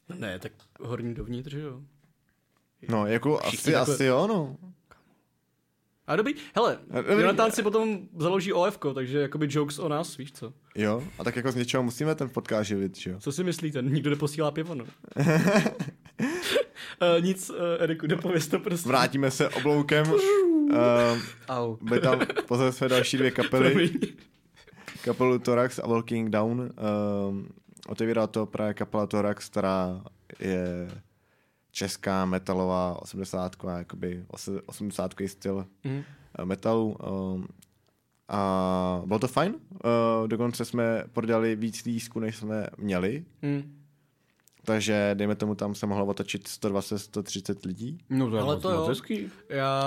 A: no ne, tak horní dovnitř, že jo.
B: No, jako
A: Všichni
B: asi,
A: takhle-
B: asi jo, no.
A: A dobrý, hele,
B: dobrý.
A: Jonatán si potom založí OFko, takže jakoby jokes o nás, víš co.
B: Jo, a tak jako z něčeho musíme ten podcast živit, že jo?
A: Co si myslíte? Nikdo neposílá pivo, no. Eh, nic, uh, Eriku, nepověz to prostě.
B: Vrátíme se obloukem. Uh,
D: Au.
B: byli tam, pozvali jsme další dvě kapely.
A: Promiň.
B: kapelu Thorax a Walking Down. Um, otevírá to právě kapela Thorax, která je česká metalová 80 jakoby 80 styl
A: Mhm.
B: eh, metalu. Um, a bylo to fajn. Uh, dokonce jsme prodali víc lístků, než jsme měli.
A: Hm.
B: Takže dejme tomu, tam se mohlo otočit 120-130 lidí.
C: No to je
A: Ale
C: moc,
A: to jo.
C: moc hezký.
A: Já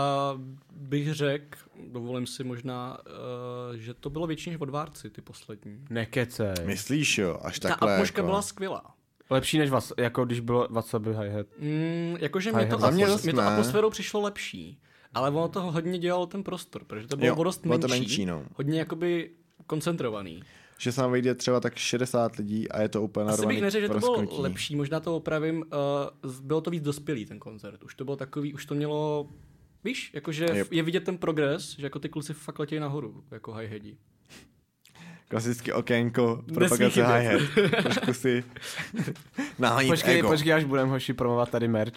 A: bych řekl, dovolím si možná, eh, že to bylo větší než odvárci, ty poslední.
C: Nekecej.
B: Myslíš jo, až
A: Ta
B: takhle.
A: atmoška
B: jako...
A: byla skvělá.
C: Lepší než vas, jako když bylo Wasabi hi-hat.
A: Mm, jakože mě
C: Hej,
A: to,
C: za
B: mě
A: atmos-
B: dost
A: mě to
B: ne.
A: atmosférou přišlo lepší, ale ono toho hodně dělalo ten prostor, protože to bylo
B: Jo,
A: o dost
B: bylo
A: menší,
B: to menší, no.
A: hodně jakoby koncentrovaný.
B: Že se nám vejde třeba tak 60 lidí a je to úplně
A: Asi
B: narvaný
A: bych neřekl, že to
B: rozkrutí.
A: bylo lepší, možná to opravím, uh, bylo to víc dospělý ten koncert, už to bylo takový, už to mělo, víš, jakože
B: Yep.
A: yep. je vidět ten progres, že jako ty kluci fakt letějí nahoru, jako high headi.
B: Klasicky okénko,
A: Nesmí
B: propagace
A: chybět.
B: hi-hat. Trošku si nahánit
C: Počkej,
B: ego.
C: počkej, až budem hoši promovat tady merch.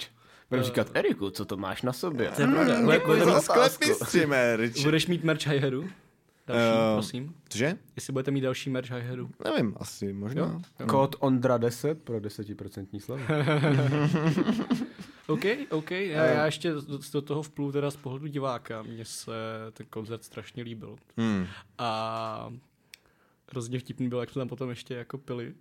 C: Budem
A: Eh.
C: říkat, "Hm, Eriku, co to máš na sobě?
A: To je pravda. Bude-
B: Děkuji
A: bude-
B: Jako za
C: otázku.
B: sklepný streamer. Richard.
A: Budeš mít merch high headu? Další,
B: Eh.
A: prosím.
B: Cože?
A: Jestli budete mít další merch high headu.
B: Nevím, asi možná.
A: Jo.
C: Kód Ondra 10 pro 10% slevu.
A: OK, OK, já,
B: Eh.
A: já ještě do, do toho vplu teda z pohledu diváka, mně se ten koncert strašně líbil.
B: Hmm.
A: A hrozně vtipný byl, jak jsme tam potom ještě jako pili,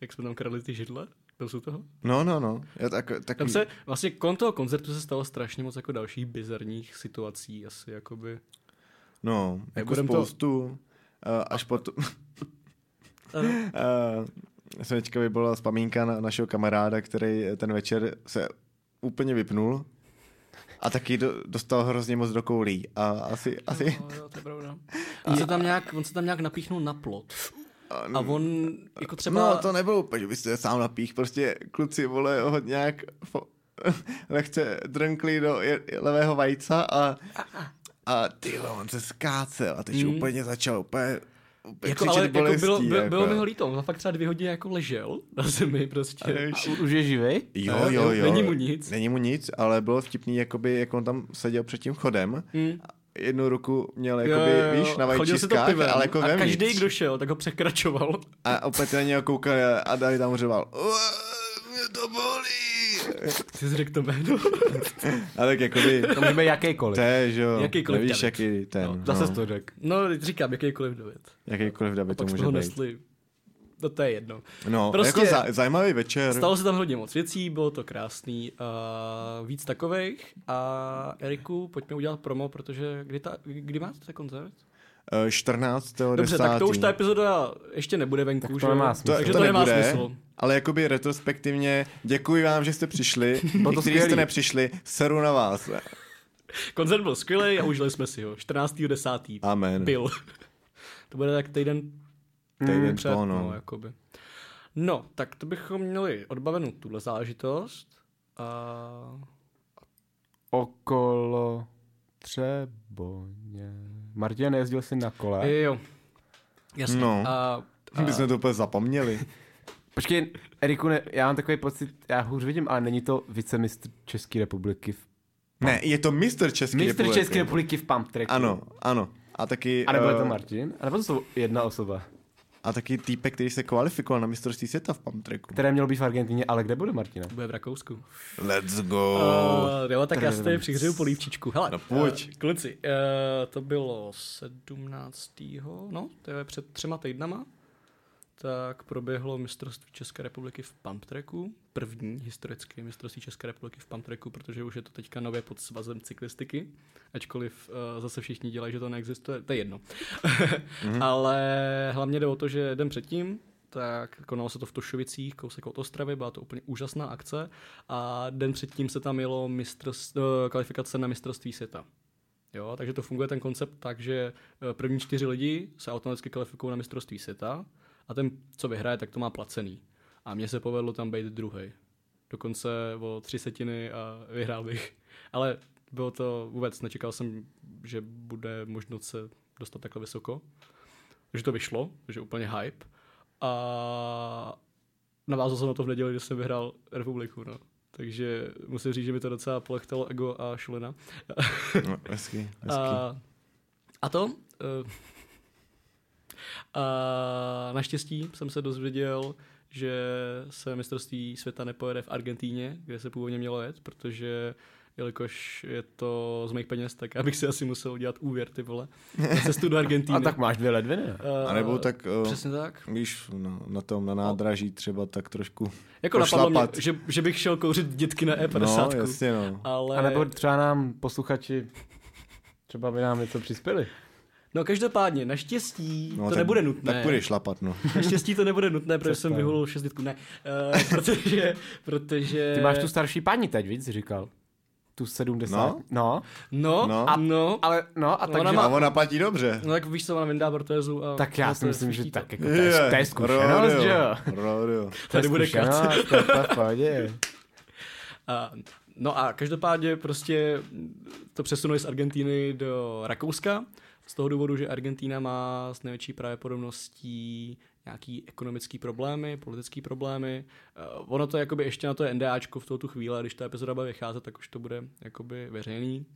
A: jak jsme tam kradli ty židle, byl jsi u toho?
B: No, no, no. Já tak, tak,
A: Tam se, vlastně kolem toho koncertu se stalo strašně moc jako dalších bizarních situací, asi jakoby.
B: No, jako
A: budem to-
B: spoustu. To... až potom...
A: Ano.
B: uh, jsem teďka vybolila vzpomínka na našeho kamaráda, který ten večer se úplně vypnul. A taky do, dostal hrozně moc do koulí. A asi, asi,
A: No, jo, to je pravda. On se, tam nějak, on se tam nějak napíchnul na plot. A on jako třeba...
B: No, to nebylo úplně, že byste sám napích, prostě kluci, vole, ho nějak fo- lehce drnkli do je- levého vajca a, a ty vole, on se skácel a teď mm. úplně začal úplně, úplně
A: Hmm. Jako, ale jako bylo, bylo, bylo mi ho líto, on tam fakt třeba dvě hodiny jako ležel na zemi prostě.
B: Víš?
C: Už je živej?
B: Jo,
A: Jo,
B: jo,
A: jo,
B: jo.
A: není mu nic.
B: Není mu nic, ale bylo vtipný, jakoby, jak on tam seděl před tím chodem.
A: Mm.
B: Jednu ruku měl,
A: Jo,
B: jakoby,
A: jo, jo.
B: víš, na
A: Chodil se to
B: vajčiskách,
A: pivem
B: ale jako
A: A
B: vevnitř.
A: každý, kdo šel, tak ho překračoval.
B: A opět na něho koukal a Dali tam řval. "Uá, Mě to bolí.
A: Jsi řekl to jméno.
B: A tak jakoby,
C: To může být jakýkoliv.
B: to je, že jo,
A: Jakýkoliv
B: nevíš,
A: David.
B: jaký ten, no,
C: Zase
B: no,
C: jsi to řekl.
A: No, teď říkám, jakýkoliv dověd.
B: jakýkoliv David to
A: Pak jsme
B: může
A: ho
B: být.
A: nesli. No to je jedno.
B: No,
A: Prostě-
B: prostě... jako za, zajímavý večer.
A: Stalo se tam hodně moc věcí, bylo to krásný. Uh, víc takových. A Eriku, pojďme udělat promo, protože kdy, ta, kdy máte ten koncert?
B: Eh, 14.
A: Dobře, tak to už ta epizoda ještě nebude venku.
C: Tak to
A: že
C: nemá
A: jo?
C: smysl.
B: to,
A: Takže
B: to,
A: to nemá
B: nebude,
A: smysl.
B: ale jakoby retrospektivně děkuji vám, že jste přišli.
C: to
B: Někteří jste
C: skvělý.
B: nepřišli, seru na vás.
A: Koncert byl skvělý a užili jsme si ho. 14.10.
B: Amen.
A: Byl. To bude tak týden
B: Týden
A: před, no.
B: po, no.
A: no, jakoby. No, tak to bychom měli odbavenou tuhle záležitost. A...
C: Okolo Třeboně. Martin, nejezdil jsi na kole?
A: Jo, jasně.
B: No.
A: A
B: My jsme to úplně zapomněli.
C: Počkej, Eriku, ne, já mám takový pocit, já hůř vidím, ale není to vicemistr České republiky. V,
B: Ne, je to mistr České
C: mistr
B: republiky.
C: České republiky v pump tracku.
B: Ano, ano. A taky,
C: A nebo je to
B: eh,
C: Martin? A nebo to jsou jedna osoba,
B: a taky týpek, který se kvalifikoval na mistrovství světa v pamtreku.
C: které mělo být v Argentině, ale kde bude Martina?
A: Bude v Rakousku.
B: Let's go.
A: Uh, jo, tak já si tady přihřeju polívčičku. Hele,
B: No pojď.
A: eh, kluci, eh, to bylo 17. No, to je před třema týdnama. Tak proběhlo mistrovství České republiky v pump tracku. První historické mistrovství České republiky v pump tracku, protože už je to teďka nově pod svazem cyklistiky. Ačkoliv eh, zase všichni dělají, že to neexistuje, to je jedno. Ale hlavně jde o to, že den předtím tak konalo se to v Tošovicích, kousek od Ostravy, byla to úplně úžasná akce a den předtím se tam jelo mistrst, eh, kvalifikace na mistrovství světa. Jo, takže to funguje ten koncept tak, že eh, první čtyři lidi se automaticky kvalifikují na mistrovství světa a ten, co vyhraje, tak to má placený. A mně se povedlo tam být druhý. Dokonce o tři setiny a vyhrál bych. Ale bylo to vůbec, nečekal jsem, že bude možnost se dostat takhle vysoko. Takže to vyšlo, takže úplně hype. A navázal jsem na to v neděli, že jsem vyhrál republiku, no. Takže musím říct, že mi to docela polechtalo ego a šulina.
B: No, hezký, hezký.
A: A, Eh, a to? eh, A naštěstí jsem se dozvěděl, že se mistrovství světa nepojede v Argentíně, kde se původně mělo jet, protože jelikož je to z mých peněz, tak abych si asi musel udělat úvěr, ty vole, na cestu do Argentíny.
C: A tak máš dvě ledviny. ne?
A: Eh,
B: A nebo tak, eh,
A: Přesně tak.
B: víš, na, na tom, na nádraží třeba tak trošku
A: Jako
B: pošlapat.
A: napadlo mě, že, že bych šel kouřit dětky na E50.
B: No, jasně, no.
A: Ale...
C: A nebo třeba nám posluchači třeba by nám něco přispěli.
A: No každopádně, naštěstí
B: no
A: to
B: tak,
A: nebude nutné.
B: Tak půjdeš šlapat, no.
A: Naštěstí to nebude nutné, protože jsem vyhulil šest litků. Ne, uh, protože, protože...
C: Ty máš tu starší paní teď, víc, říkal. Tu 70.
B: No.
C: no.
A: No,
B: No.
A: no, a, no, a,
C: Ale no, a
A: No,
C: takže...
A: ona
B: A ona platí dobře.
A: no tak víš co, ona vyndá protézu a...
C: Tak já
A: a
C: si
A: eh, to je
C: myslím, že
A: svítí to.
C: tak jako
B: No,
C: to je, to je zkušenost,
B: rodeo,
C: že jo?
B: Rodeo.
A: Tady bude kat.
C: To je v pohodě.
A: A, no a každopádně prostě to přesunuli z Argentíny do Rakouska z toho důvodu, že Argentína má s největší pravděpodobností nějaký ekonomický problémy, politický problémy. Eh, ono to je jakoby ještě na to je NDAčko v tuto tu chvíli, a když ta epizoda bude vycházet, tak už to bude jakoby veřejný.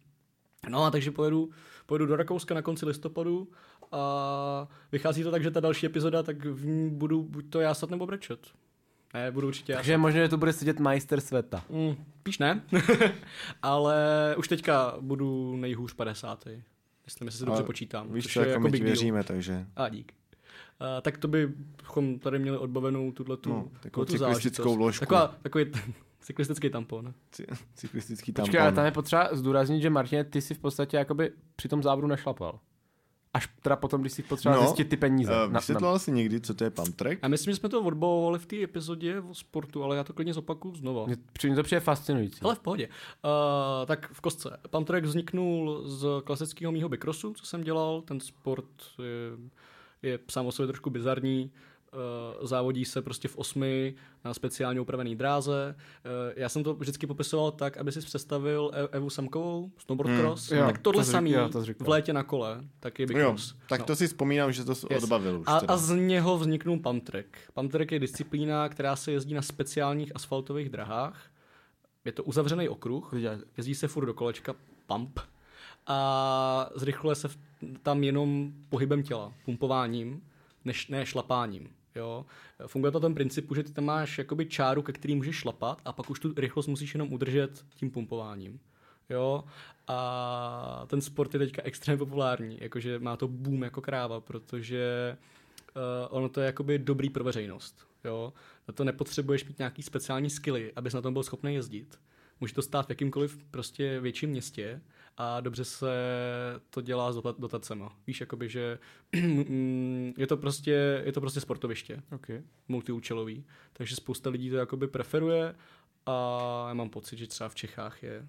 A: No a takže pojedu, pojedu do Rakouska na konci listopadu a vychází to tak, že ta další epizoda, tak v ní budu buď to jásat nebo brečet. Ne, budu určitě jásat.
C: Takže možná, že tu bude sedět majster světa.
A: Mm, píš ne, ale už teďka budu nejhůř 50. Jestli si dobře
B: Ale
A: počítám.
B: Víš
A: což
B: co,
A: je
B: jako my
A: big
B: ti
A: deal.
B: věříme, takže...
A: A dík. Uh, tak to bychom tady měli odbavenou tuhletu,
B: No, takovou
A: tuhletu
B: cyklistickou
A: záležitost.
B: vložku.
A: Taková, takový t- cyklistický tampon.
B: Cy- Cyklistický tampon.
C: Počkej, ale tam je potřeba zdůraznit, že Martine, ty si v podstatě jakoby při tom závodu nešlapal. Až teda potom, když si potřeba
B: No,
C: zjistit ty peníze.
B: Eh, Vysvětloval jsi někdy, co to je pamtrek?
A: A myslím, že jsme to odbavovali v té epizodě o sportu, ale já to klidně zopakuju znova.
C: Mně při- mně to přijde fascinující.
A: Ale v pohodě. Uh, tak v kostce. Pantrek vzniknul z klasického mýho bikrosu, co jsem dělal. Ten sport je, je sám o sobě trošku bizarní. Eh, Závodí se prostě v osmi na speciálně upravený dráze. Eh, Já jsem to vždycky popisoval tak, aby si představil E- Evu Samkovou, snowboard cross.
C: Hmm, jo,
A: tak tohle
C: to jsi-
A: samý
C: jo, to jsi říkal.
A: v létě na kole, tak je
B: Jo,
A: bikros.
B: tak to si vzpomínám, že to jsi
A: Yes.
B: odbavil už
A: A,
B: teda.
A: a z něho vzniknul pamtrek. Pamtrek je disciplína, která se jezdí na speciálních asfaltových drahách. Je to uzavřený okruh, jezdí se furt do kolečka pump a zrychluje se v- tam jenom pohybem těla, pumpováním, než, ne šlapáním. Jo. Funguje to na tom principu, že ty tam máš jakoby čáru, ke který můžeš šlapat a pak už tu rychlost musíš jenom udržet tím pumpováním. Jo, a ten sport je teďka extrémně populární, jakože má to boom jako kráva, protože uh, ono to je jakoby dobrý pro veřejnost, jo. Na to nepotřebuješ mít nějaký speciální skilly, abys na tom byl schopný jezdit. Může to stát v jakýmkoliv prostě větším městě a dobře se to dělá s dota- dotacema. Víš, jakoby, že mm, je to prostě, je to prostě sportoviště
C: Okay.
A: multiúčelový, takže spousta lidí to jakoby preferuje a já mám pocit, že třeba v Čechách je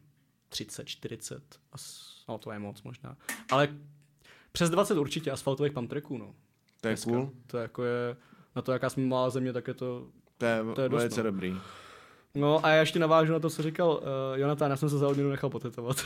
A: 30, 40, as, no to je moc možná, ale přes 20 určitě asfaltových pamtreků, no.
B: To je
A: Dneska.
B: cool.
A: To je jako je, na to, jaká jsme malá země, tak je to,
B: To je,
A: to je dost,
B: velice
A: no.
B: dobrý.
A: No a já ještě navážu na to, co říkal uh, Jonatán, já jsem se za odměnu nechal potetovat.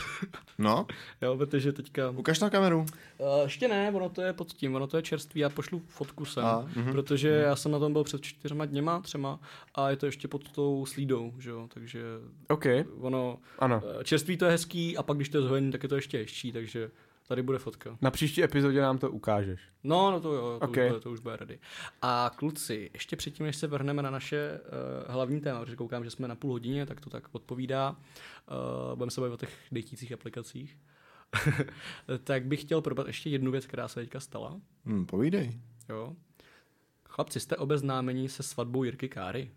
B: No,
A: jo, protože teďka... Uh,
B: ukaž na kameru.
A: Eh, ještě ne, ono to je pod tím, ono to je čerství, já pošlu fotku sem,
B: A,
A: a, mhm. protože já jsem na tom byl před čtyřma dněma, třema, a je to ještě pod tou slídou, že jo, takže
C: OK,
A: ono...
C: ano.
A: eh, Čerství to je hezký a pak když to je zhojený, tak je to ještě hezčí, takže tady bude fotka.
C: Na příští epizodě nám to ukážeš.
A: No, no to jo, to,
C: Okay.
A: okay. už bude, to už bude ready. A kluci, ještě předtím, než se vrhneme na naše uh, hlavní téma, protože koukám, že jsme na půl hodině, tak to tak odpovídá. Uh, budeme se bavit o těch dejtících aplikacích. tak bych chtěl probat ještě jednu věc, která se teďka stala.
B: Hm, povídej.
A: Jo. Chlapci, jste obeznámeni se svatbou Jirky Káry?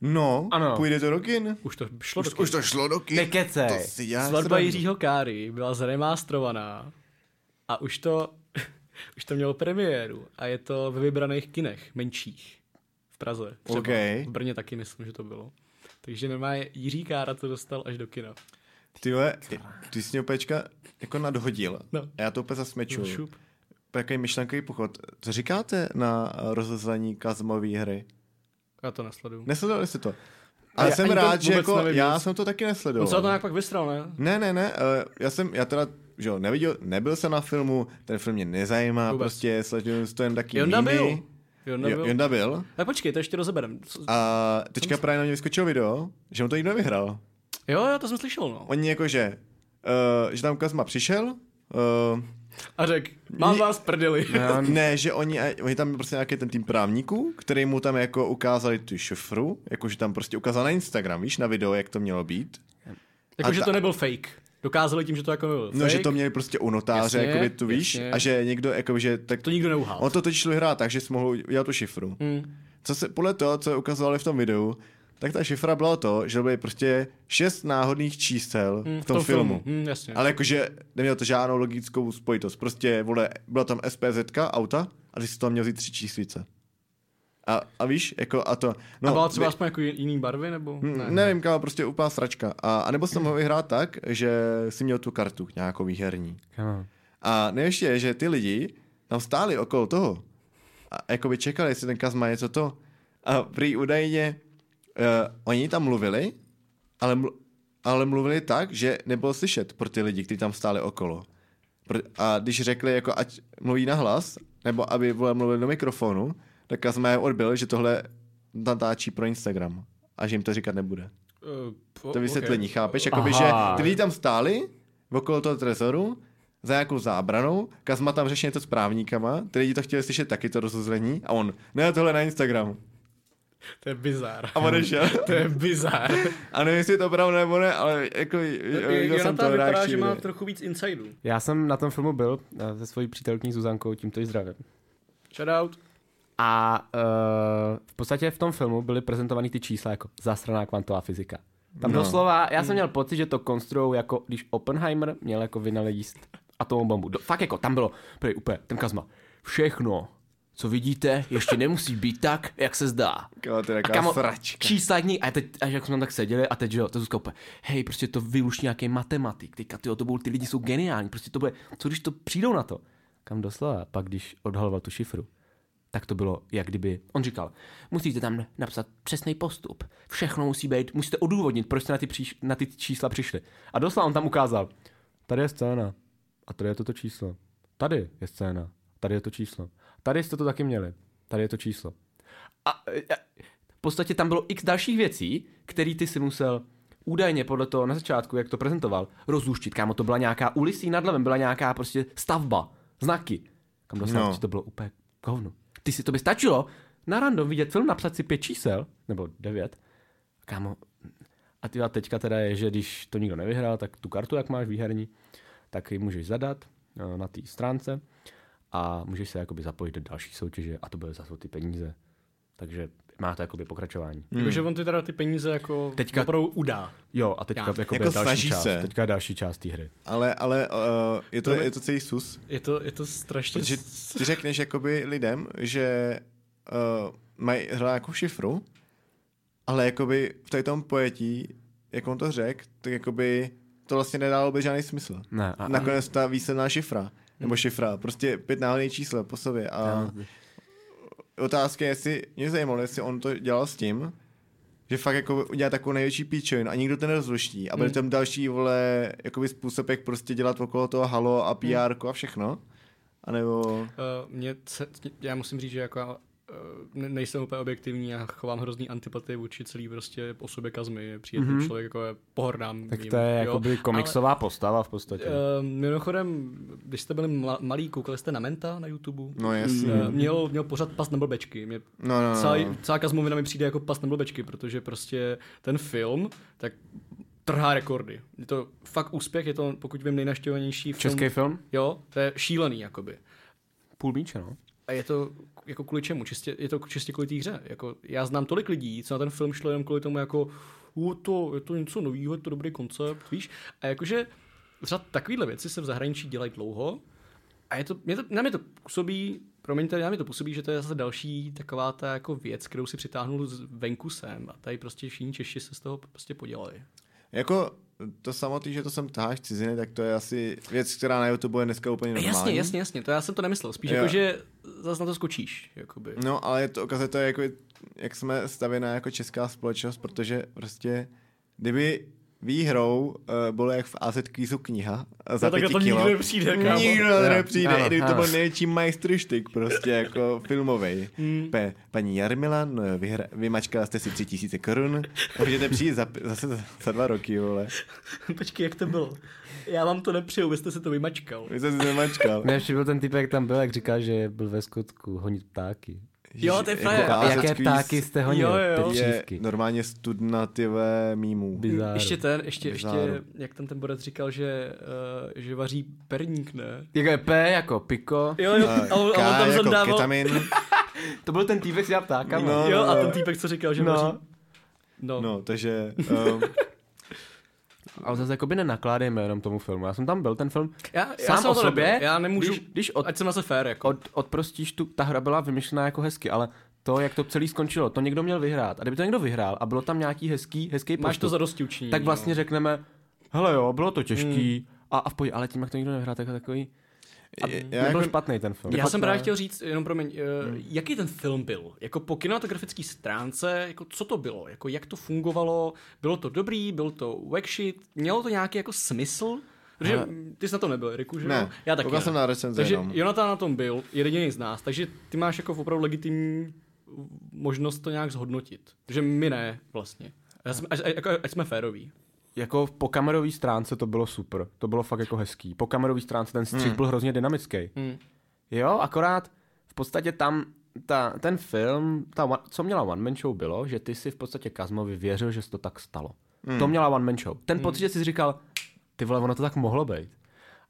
B: No,
C: Ano.
B: půjde to do kin.
A: Už to šlo
B: Už,
A: do
B: už to šlo do kin.
D: Nekecej.
B: To si já
A: Svatba Jiřího Káry byla zremastrovaná a už to, už to mělo premiéru a je to ve vybraných kinech, menších, v Praze. Třeba.
B: Okej.
A: V Brně taky myslím, že to bylo. Takže normálně Jiří Kára to dostal až do kina.
B: Ty vole, ty jsi mě opečka jako nadhodil.
A: No.
B: A já to úplně zasmečuju.
A: Šup.
B: Takový myšlenkový pochod. Co říkáte na eh, rozhozlení Kazmové hry?
A: Já to nesleduju. Ne,
B: Nesledovali jste to?
A: A
B: Ale
A: já
B: jsem
A: ani to
B: rád, že
A: vůbec
B: jako,
A: nevím
B: já
A: nic.
B: jsem to taky
A: On se na to
B: nesledoval.
A: nějak pak vystral, ne?
B: Ne, ne, ne, eh, já jsem, já teda, že jo, neviděl, nebyl jsem na filmu, ten film mě nezajímá,
A: Vůbec.
B: prostě sleduju to jen taky
A: Jonda
B: mýmy.
A: byl. Jonda
B: Jo,
A: byl.
B: Jonda byl.
A: Tak počkej, to ještě rozeberem. Co-
B: A teďka právě na mě vyskočilo video, že mu to nikdo nevyhrál.
A: Jo, já to jsem slyšel, no.
B: Oni jakože, uh, že tam Kazma přišel, uh,
A: A řek, mám vás prdeli.
C: Já,
B: ne, že oni, a- oni tam byl prostě nějaký ten tým právníků, který mu tam jako ukázali tu šifru, jakože tam prostě ukázal na Instagram, víš, na video, jak to mělo být.
A: Jakože
B: ta-
A: to nebyl fake. Dokázali tím, že to jako nebyl fake.
B: No, že to měli prostě u notáře,
A: Jasně,
B: jakoby tu víš,
A: jasně.
B: a že někdo, jakoby, že tak...
A: To nikdo neuhál.
B: On to totiž šlo hrát tak, že jsi mohl udělat tu šifru.
A: Hmm.
B: Co se, podle toho, co ukazovali v tom videu, tak ta šifra byla to, že byly prostě šest náhodných čísel v tom filmu.
A: Hmm, jasně.
B: Ale jakože nemělo to žádnou logickou spojitost. Prostě, vole, byla tam SPZ auta a ty jsi tam měl vzít tři číslice. A, a víš, jako a to... No,
A: a byla třeba
B: vy-
A: aspoň jako jin- jiný barvy, nebo?
B: Mm, Nevím, kámo, prostě úplná sračka. A, a nebo jsem ho vyhrát tak, že si měl tu kartu nějakou výherní.
C: Kámo.
B: A nejlepší je, že ty lidi tam stáli okolo toho a jakoby čekali, jestli ten Kazma něco to. A prý údajně uh, oni tam mluvili, ale, mlu- ale mluvili tak, že nebylo slyšet pro ty lidi, kteří tam stáli okolo. Pr- a když řekli, jako ať mluví na hlas, nebo aby vole, mluvili do mikrofonu, tak Kazma je odbil, že tohle natáčí pro Instagram a že jim to říkat nebude.
A: Eh, po-
B: To vysvětlení,
A: ok.
B: chápeš? Jakoby, že
C: Aha.
B: ty lidi tam stáli okolo toho trezoru za nějakou zábranou, Kazma tam řešil něco s právníkama, ty lidi to chtěli slyšet taky to rozuzlení a on, ne, tohle na Instagramu.
A: To je bizár.
B: A odešel.
A: To je bizár.
B: A nevím, jestli je to pravda nebo ne, ale jako viděl jsem
A: Jonathan
B: to
A: vypadá,
B: reakční
A: že má
B: video.
A: trochu víc insidů.
C: Já jsem na tom filmu byl eh, se svojí přítelkyní Zuzankou, tímto ji zdravím.
A: Shoutout.
B: Hmm.
C: A uh, v podstatě v tom filmu byly prezentovaný ty čísla jako zásraná kvantová fyzika. Tam
B: No.
C: no. doslova, já jsem měl pocit, že to konstruují jako, když Oppenheimer měl jako vynalezít atomovou bombu. Do, fakt jako, tam bylo, prý, úplně, ten kazma, všechno, co vidíte, ještě nemusí být tak, jak se zdá.
B: Kámo, to je
C: A
B: taková
C: kamo,
B: sračka.
C: čísla dní, a teď, až jak jsme tam tak seděli, a teď, že jo, to Zuzka úplně, hej, prostě to vyluš nějaký matematik, teďka, tyjo, to budou, ty lidi jsou geniální, prostě to bude, co když to přijdou na to? Kam doslova, pak když odhaloval tu šifru, tak to bylo, jak kdyby, on říkal, musíte tam napsat přesný postup, všechno musí být, musíte odůvodnit, proč jste na ty, příš, na ty čísla přišli. A doslova on tam ukázal, tady je scéna, a tady je toto číslo, tady je scéna, tady je to číslo, tady jste to taky měli, tady je to číslo. A, a v podstatě tam bylo x dalších věcí, které ty si musel údajně podle toho na začátku, jak to prezentoval, rozluštit. Kámo, to byla nějaká ulicí nad hlavem, byla nějaká prostě stavba, znaky. Kam dostal,
B: No.
C: no. to bylo úplně hovno. Ty si to by stačilo na random vidět film, napsat si pět čísel, nebo devět. Kámo, a ty a teďka teda je, že když to nikdo nevyhrál, tak tu kartu, jak máš výherní, tak ji můžeš zadat eh, na té stránce a můžeš se jakoby zapojit do další soutěže a to bude zase o ty peníze. Takže má to jakoby pokračování.
A: Jakože on ty teda ty peníze jako
C: Teďka-
A: Teďka... opravdu udá.
C: Jo, a teďka
A: Já.
C: jakoby
B: Jako
C: je další
B: snaží
C: část,
B: se.
C: Teďka je další část té hry.
B: Ale, ale uh, je, to, je to celý sus.
A: Je to, je to strašně...
B: Protože ty řekneš jakoby lidem, že uh, mají hrát nějakou šifru, ale jakoby v tady tom pojetí, jak on to řekl, tak jakoby to vlastně nedalo by žádný smysl.
C: Ne, a,
B: A,
C: a,
B: Nakonec ta výsledná šifra, nebo šifra, prostě pět náhodných čísel po sobě a otázka je, jestli mě zajímalo, jestli on to dělal s tím, že fakt jako udělá takovou největší píčovin a nikdo to nerozluští. A byl tam další vole, jakoby způsob, jak prostě dělat okolo toho halo a PR a všechno. A nebo...
A: Uh, mě se, já musím říct, že jako já, eh, ne- nejsem úplně objektivní, já chovám hrozný antipatie vůči celý prostě osobě Kazmy, je příjemný
B: Mhm.
A: mm-hmm. člověk, jako je pohrdám.
C: Tak
A: jim,
C: to je
A: jo.
C: jakoby komiksová ale... postava v podstatě.
A: Ale, uh, mimochodem, když jste byli mla- malí, koukali jste na Menta na YouTube?
B: No jasně.
A: Eh, Měl, měl pořád pas na blbečky. Mě,
B: No, no, no.
A: Celá, celá Kazmovina mi přijde jako pas na blbečky, protože prostě ten film tak trhá rekordy. Je to fakt úspěch, je to, pokud vím, nejnaštěvovanější film.
C: Český film?
A: Jo, to je šílený, jakoby.
C: Půl míče, no.
A: A je to k- jako kvůli čemu? Čistě, je to k- čistě kvůli té hře. Jako, já znám tolik lidí, co na ten film šlo jenom kvůli tomu jako U, to, je to něco nového, je to dobrý koncept, víš? A jakože třeba takovéhle věci se v zahraničí dělají dlouho a je to, mě to, na mě to působí, promiňte, na mě to působí, že to je zase další taková ta jako věc, kterou si přitáhnul z venku sem a tady prostě všichni Češi se z toho prostě podělali.
B: Jako to samotný, že to sem táháš ciziny, tak to je asi věc, která na YouTube je dneska úplně normální.
A: Jasně, jasně, jasně, to já jsem to nemyslel. Spíš
B: Jo.
A: jako, že zase na to skočíš, jakoby.
B: No, ale je to ukazuje to, jako, jak jsme stavěná jako česká společnost, protože prostě, kdyby výhrou uh, bylo jak v AZ kvízu kniha eh, za
A: No, takhle
B: no, pěti
A: to nikdy
B: kilo.
A: nepřijde, kámo.
B: Nikdo na to
C: Jo,
B: nepřijde,
C: ano,
B: i kdyby to
C: ano.
B: byl největší majstrštyk prostě, jako filmový.
A: Hmm.
B: Pe, paní Jarmila, no, vyhra, vymačkala jste si tři tisíce korun, můžete přijít za, zase za, za dva roky, vole.
A: Počkej, jak to bylo? Já vám to nepřeju, vy jste se to vymačkal.
B: Vy jste si nemačkal.
D: Mě ještě byl ten typ, jak tam byl, jak říká, že byl ve Skotsku honit ptáky.
A: Jo, to je frajer.
B: Jako
A: A
B: AZ
D: Jaké
B: Quiz
D: ptáky jste honil?
A: Jo, jo, jo.
D: Ty
B: je
C: no.
D: čívky.
B: normálně studna, ty ve, mýmů.
D: Bizár.
A: Ještě ten, ještě, ještě,
B: Bizáru.
A: jak tam ten borec říkal, že, uh, že vaří perník, ne?
D: Jako je P jako piko.
A: Jo, jo,
B: Eh,
A: a on, a on
B: K
A: tam
B: jako
A: zandával,
B: ketamin.
C: To byl ten týpek s já ptákama.
B: No,
A: jo, a
B: no,
A: ten
B: no.
A: týpek, co říkal, že
C: No.
A: vaří... No,
B: No, takže... Um,
C: Ale zase jakoby nenakládejme jenom tomu filmu. Já jsem tam byl, ten film
A: já, já
C: sám
A: jsem
C: o
A: to
C: sobě,
A: nebyl, já nemůžu,
C: když, když od,
A: ať jsem zase fér, jako.
C: od, odprostíš tu, ta hra byla vymyšlená jako hezky, ale to, jak to celý skončilo, to někdo měl vyhrát. A kdyby to někdo vyhrál a bylo tam nějaký hezký, hezký
A: Máš to
C: postup,
A: za dosti učinění.
C: tak vlastně
A: no.
C: řekneme, hele jo, bylo to těžký,
A: Hmm.
C: a, a v pohodě, ale tím, jak to nikdo nevyhrál, tak je takový,
B: já,
C: já nebyl
B: jako,
C: jako... špatný ten film.
A: Já jsem
C: Špatná-
A: právě chtěl říct, jenom promiň, uh,
B: Hmm.
A: jaký ten film byl? Jako po kinematografické stránce, jako co to bylo? Jako jak to fungovalo? Bylo to dobrý? Byl to wack shit? Mělo to nějaký jako smysl? Protože
C: Ale-
A: mm, ty jsi na to nebyl, Riku, že jo?
B: ne,
A: Já taky
B: koukal jsem
A: ne.
B: na recenze
A: Takže
B: jenom.
A: Jonathan na tom byl, je jediný z nás, takže ty máš jako opravdu legitimní možnost to nějak zhodnotit. Že my ne, vlastně. Já jsem, až, jako, ať jsme féroví.
C: Jako po kamerové stránce to bylo super, to bylo fakt jako hezký. Po kamerové stránce ten střih byl hrozně dynamický.
A: Hmm.
C: Jo, akorát v podstatě tam ta, ten film, ta one, co měla One Man Show bylo, že ty si v podstatě Kazmovi věřil, že se to tak stalo. Hmm. To měla One Man Show. Ten hmm. pocit, že jsi říkal, ty vole, ono to tak mohlo být.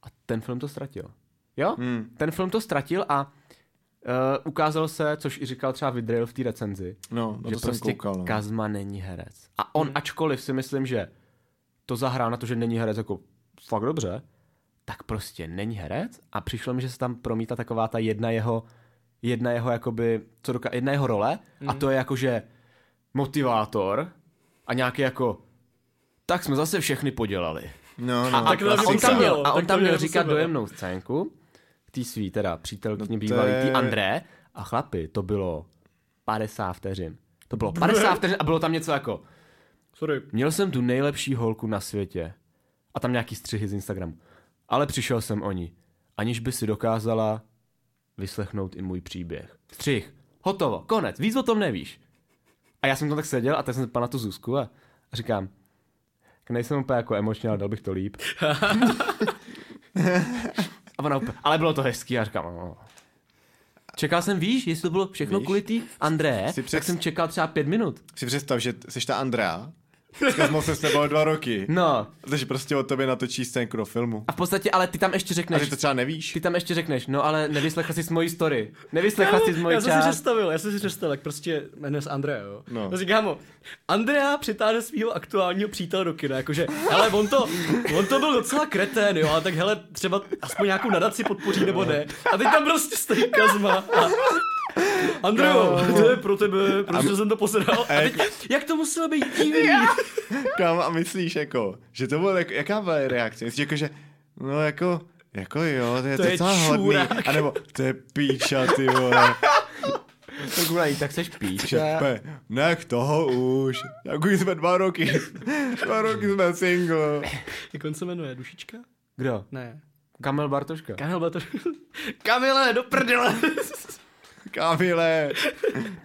C: A ten film to ztratil. Jo? Hmm. Ten film to ztratil a uh, ukázal se, což i říkal třeba Vidril v té recenzi,
B: No, na
C: že
B: to jsem
C: prostě
B: koukal, no.
C: Kazma není herec. A on, ačkoliv si myslím, že to zahrál na to, že není herec jako fakt dobře, tak prostě není herec a přišlo mi, že se tam promítá taková ta jedna jeho, jedna jeho jakoby, co doka- jedna jeho role a to je jakože motivátor a nějaký jako tak jsme zase všechny podělali.
B: No, no,
C: A,
A: to
C: a, a on
A: klasika.
C: tam měl, a
A: Tak
C: on
A: to
C: tam
A: mě
C: měl jako
A: rozhodilo.
C: říkat dojemnou scénku k té svý, teda přítelkyni
B: No to
C: bývalý,
B: je-
C: té André. A chlapi, to bylo 50 vteřin. To bylo 50 vteřin a bylo tam něco jako
A: Sorry.
C: Měl jsem tu nejlepší holku na světě. A tam nějaký střihy z Instagramu. Ale přišel jsem o ní. Aniž by si dokázala vyslechnout i můj příběh. Střih. Hotovo. Konec. Víc o tom nevíš. A já jsem tam tak seděl a tak jsem se ptal na tu Zuzku a a říkám, tak nejsem úplně jako emočně, ale dal bych to líp. a ona úplně, ale bylo to hezký, a říkám, no. Čekal jsem, víš, jestli to bylo všechno
B: Víš?
C: víš? kvůli tý André,
B: Si
C: tak
B: před-
C: jsem čekal třeba pět minut.
B: Si představ, že jsi ta Andrea, s Kazmou jsem s tebou dva roky,
C: No,
B: takže prostě o tobě natočí scénku do filmu.
C: A v podstatě, ale ty tam
B: A
C: ještě řekneš,
B: ty to třeba nevíš?
C: ty tam ještě řekneš, no ale nevyslechla jsi moji story, nevyslechla jsi moji
A: já jsem si
C: část.
A: představil, já jsem si představil, jak prostě jmenuje se Andrea, jo.
B: No.
A: No. Říkám mu, Andrea přitáhne svého aktuálního přítele do kina, jakože, hele, on to, on to byl docela kretén, jo, ale tak hele, třeba aspoň nějakou nadaci podpoří nebo ne. A teď tam prostě stojí Kazma a... Andreo, to je pro tebe, protože jsem to posedal. A teď, jak to muselo být divný?
B: Kam a myslíš jako, že to bylo jako, jaká byla reakce? Myslíš jako, že, no jako, jako jo, to je
A: To
B: to
A: je
B: docela hodný.
A: čurák.
B: A nebo, to je píča, ty vole.
C: ten kůra jí, tak seš píč.
B: Čepe, nech toho už. Tak už jsme dva roky. Dva roky jsme single.
A: Jak on se jmenuje? Dušička?
C: Kdo?
A: Ne.
C: Kamil Bartoška.
A: Kamil Bator. Kamile, do prdele!
B: Kamile.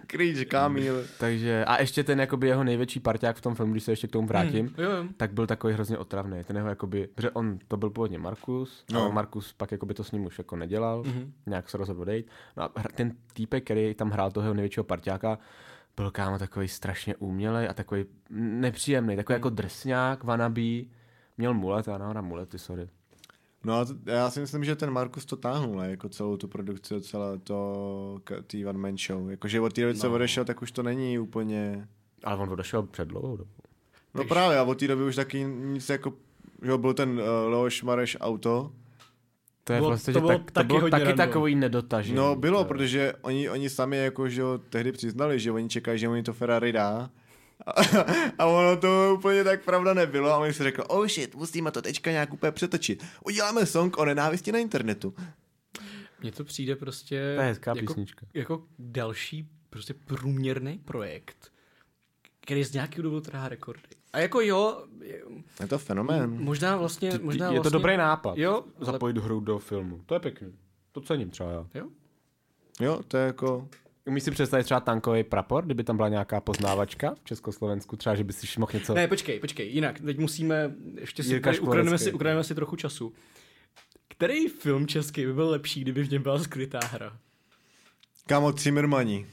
B: Kríč, Kamil.
C: Takže, a ještě ten jakoby jeho největší parťák v tom filmu, když se ještě k tomu vrátím,
A: jo, jo.
C: tak byl takový hrozně otravný. Ten jeho jakoby, protože on to byl původně Markus, no.
B: No.
C: ale Markus pak jakoby to s ním už jako nedělal,
A: Mhm.
C: mm-hmm. nějak se rozhodl odejít. No a hra- ten týpek, který tam hrál toho jeho největšího parťáka, byl kámo takový strašně umělej a takový nepříjemný,
A: Mhm.
C: takový jako drsňák, wannabe, měl mulet, já nemám mulety, sorry.
B: No a t- já si myslím, že ten Markus to táhnul, ne? jako celou tu produkci, celé to k- tý one man show. Jakože od té doby, co odešel, tak už to není úplně...
C: Ale on odešel před dlouhou dobou.
B: No právě, a od té doby už taky nic jako... Že jo, byl ten uh, Leoš Mareš auto.
C: To je
A: Bylo-
C: vlastně,
A: to
C: že
A: bylo
C: tak, to
A: taky
C: bylo
A: hodně
C: taky
A: random.
C: takový nedotažený.
B: No bylo,
C: to-
B: protože oni, oni sami jako, že jo, tehdy přiznali, že oni čekají, že oni to Ferrari dá. A, a ono to úplně tak pravda nebylo a oni si řekli, oh shit, musíme to teďka nějak úplně přetočit. Uděláme song o nenávisti na internetu.
A: Mně to přijde prostě
C: To je hezká
A: jako,
C: písnička.
A: jako další prostě průměrný projekt, který z nějakého důvodu trhá rekordy. A jako jo, je-
B: Je to fenomén.
A: možná vlastně... Možná
C: je to
A: vlastně,
C: dobrý nápad.
A: Jo, ale,
C: Zapojit hru do filmu. To je pěkný. To cením třeba já.
A: jo,
B: Jo, to je jako...
C: Umíš si představit třeba tankový prapor, kdyby tam byla nějaká poznávačka v Československu, třeba, že by si mohl něco...
A: Ne, počkej, počkej, jinak, teď musíme, ještě si,
C: No. Jirka
A: tady ukradneme si,
C: Škvorecký.
A: ukradneme si trochu času. Který film český by byl lepší, kdyby v něm byla skrytá hra?
B: Kámo, Cimrmani.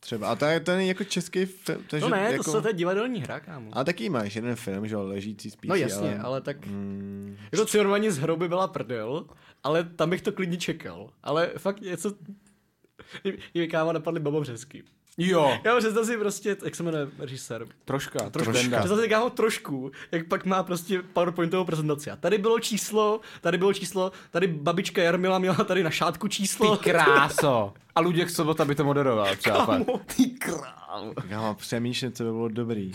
B: Třeba. A to je ten jako český film. To, je,
A: No
B: že
A: ne,
B: jako...
A: to, jsou, to je divadelní hra, kámo.
B: A taky máš jeden film, že jo, ležící spíš.
A: No jasně, ale tak... Jako Cimrmani z hroby byla prdel, ale tam bych to klidně čekal. Ale fakt něco... I- I mi kámo napadly Baba Březky.
C: Jo,
A: Já představ si prostě, jak se jmenuje režisér.
C: troška,
B: Troška.
C: troška.
A: Představ si kámo trošku, jak pak má prostě PowerPointovou prezentaci. A tady bylo číslo, tady bylo číslo, tady babička Jarmila měla tady na šátku číslo.
C: Ty kráso. A Luděk Sobota by to moderoval třeba. pak.
A: Kámo, ty král.
B: Kámo, přemýšlím, co by bylo dobrý.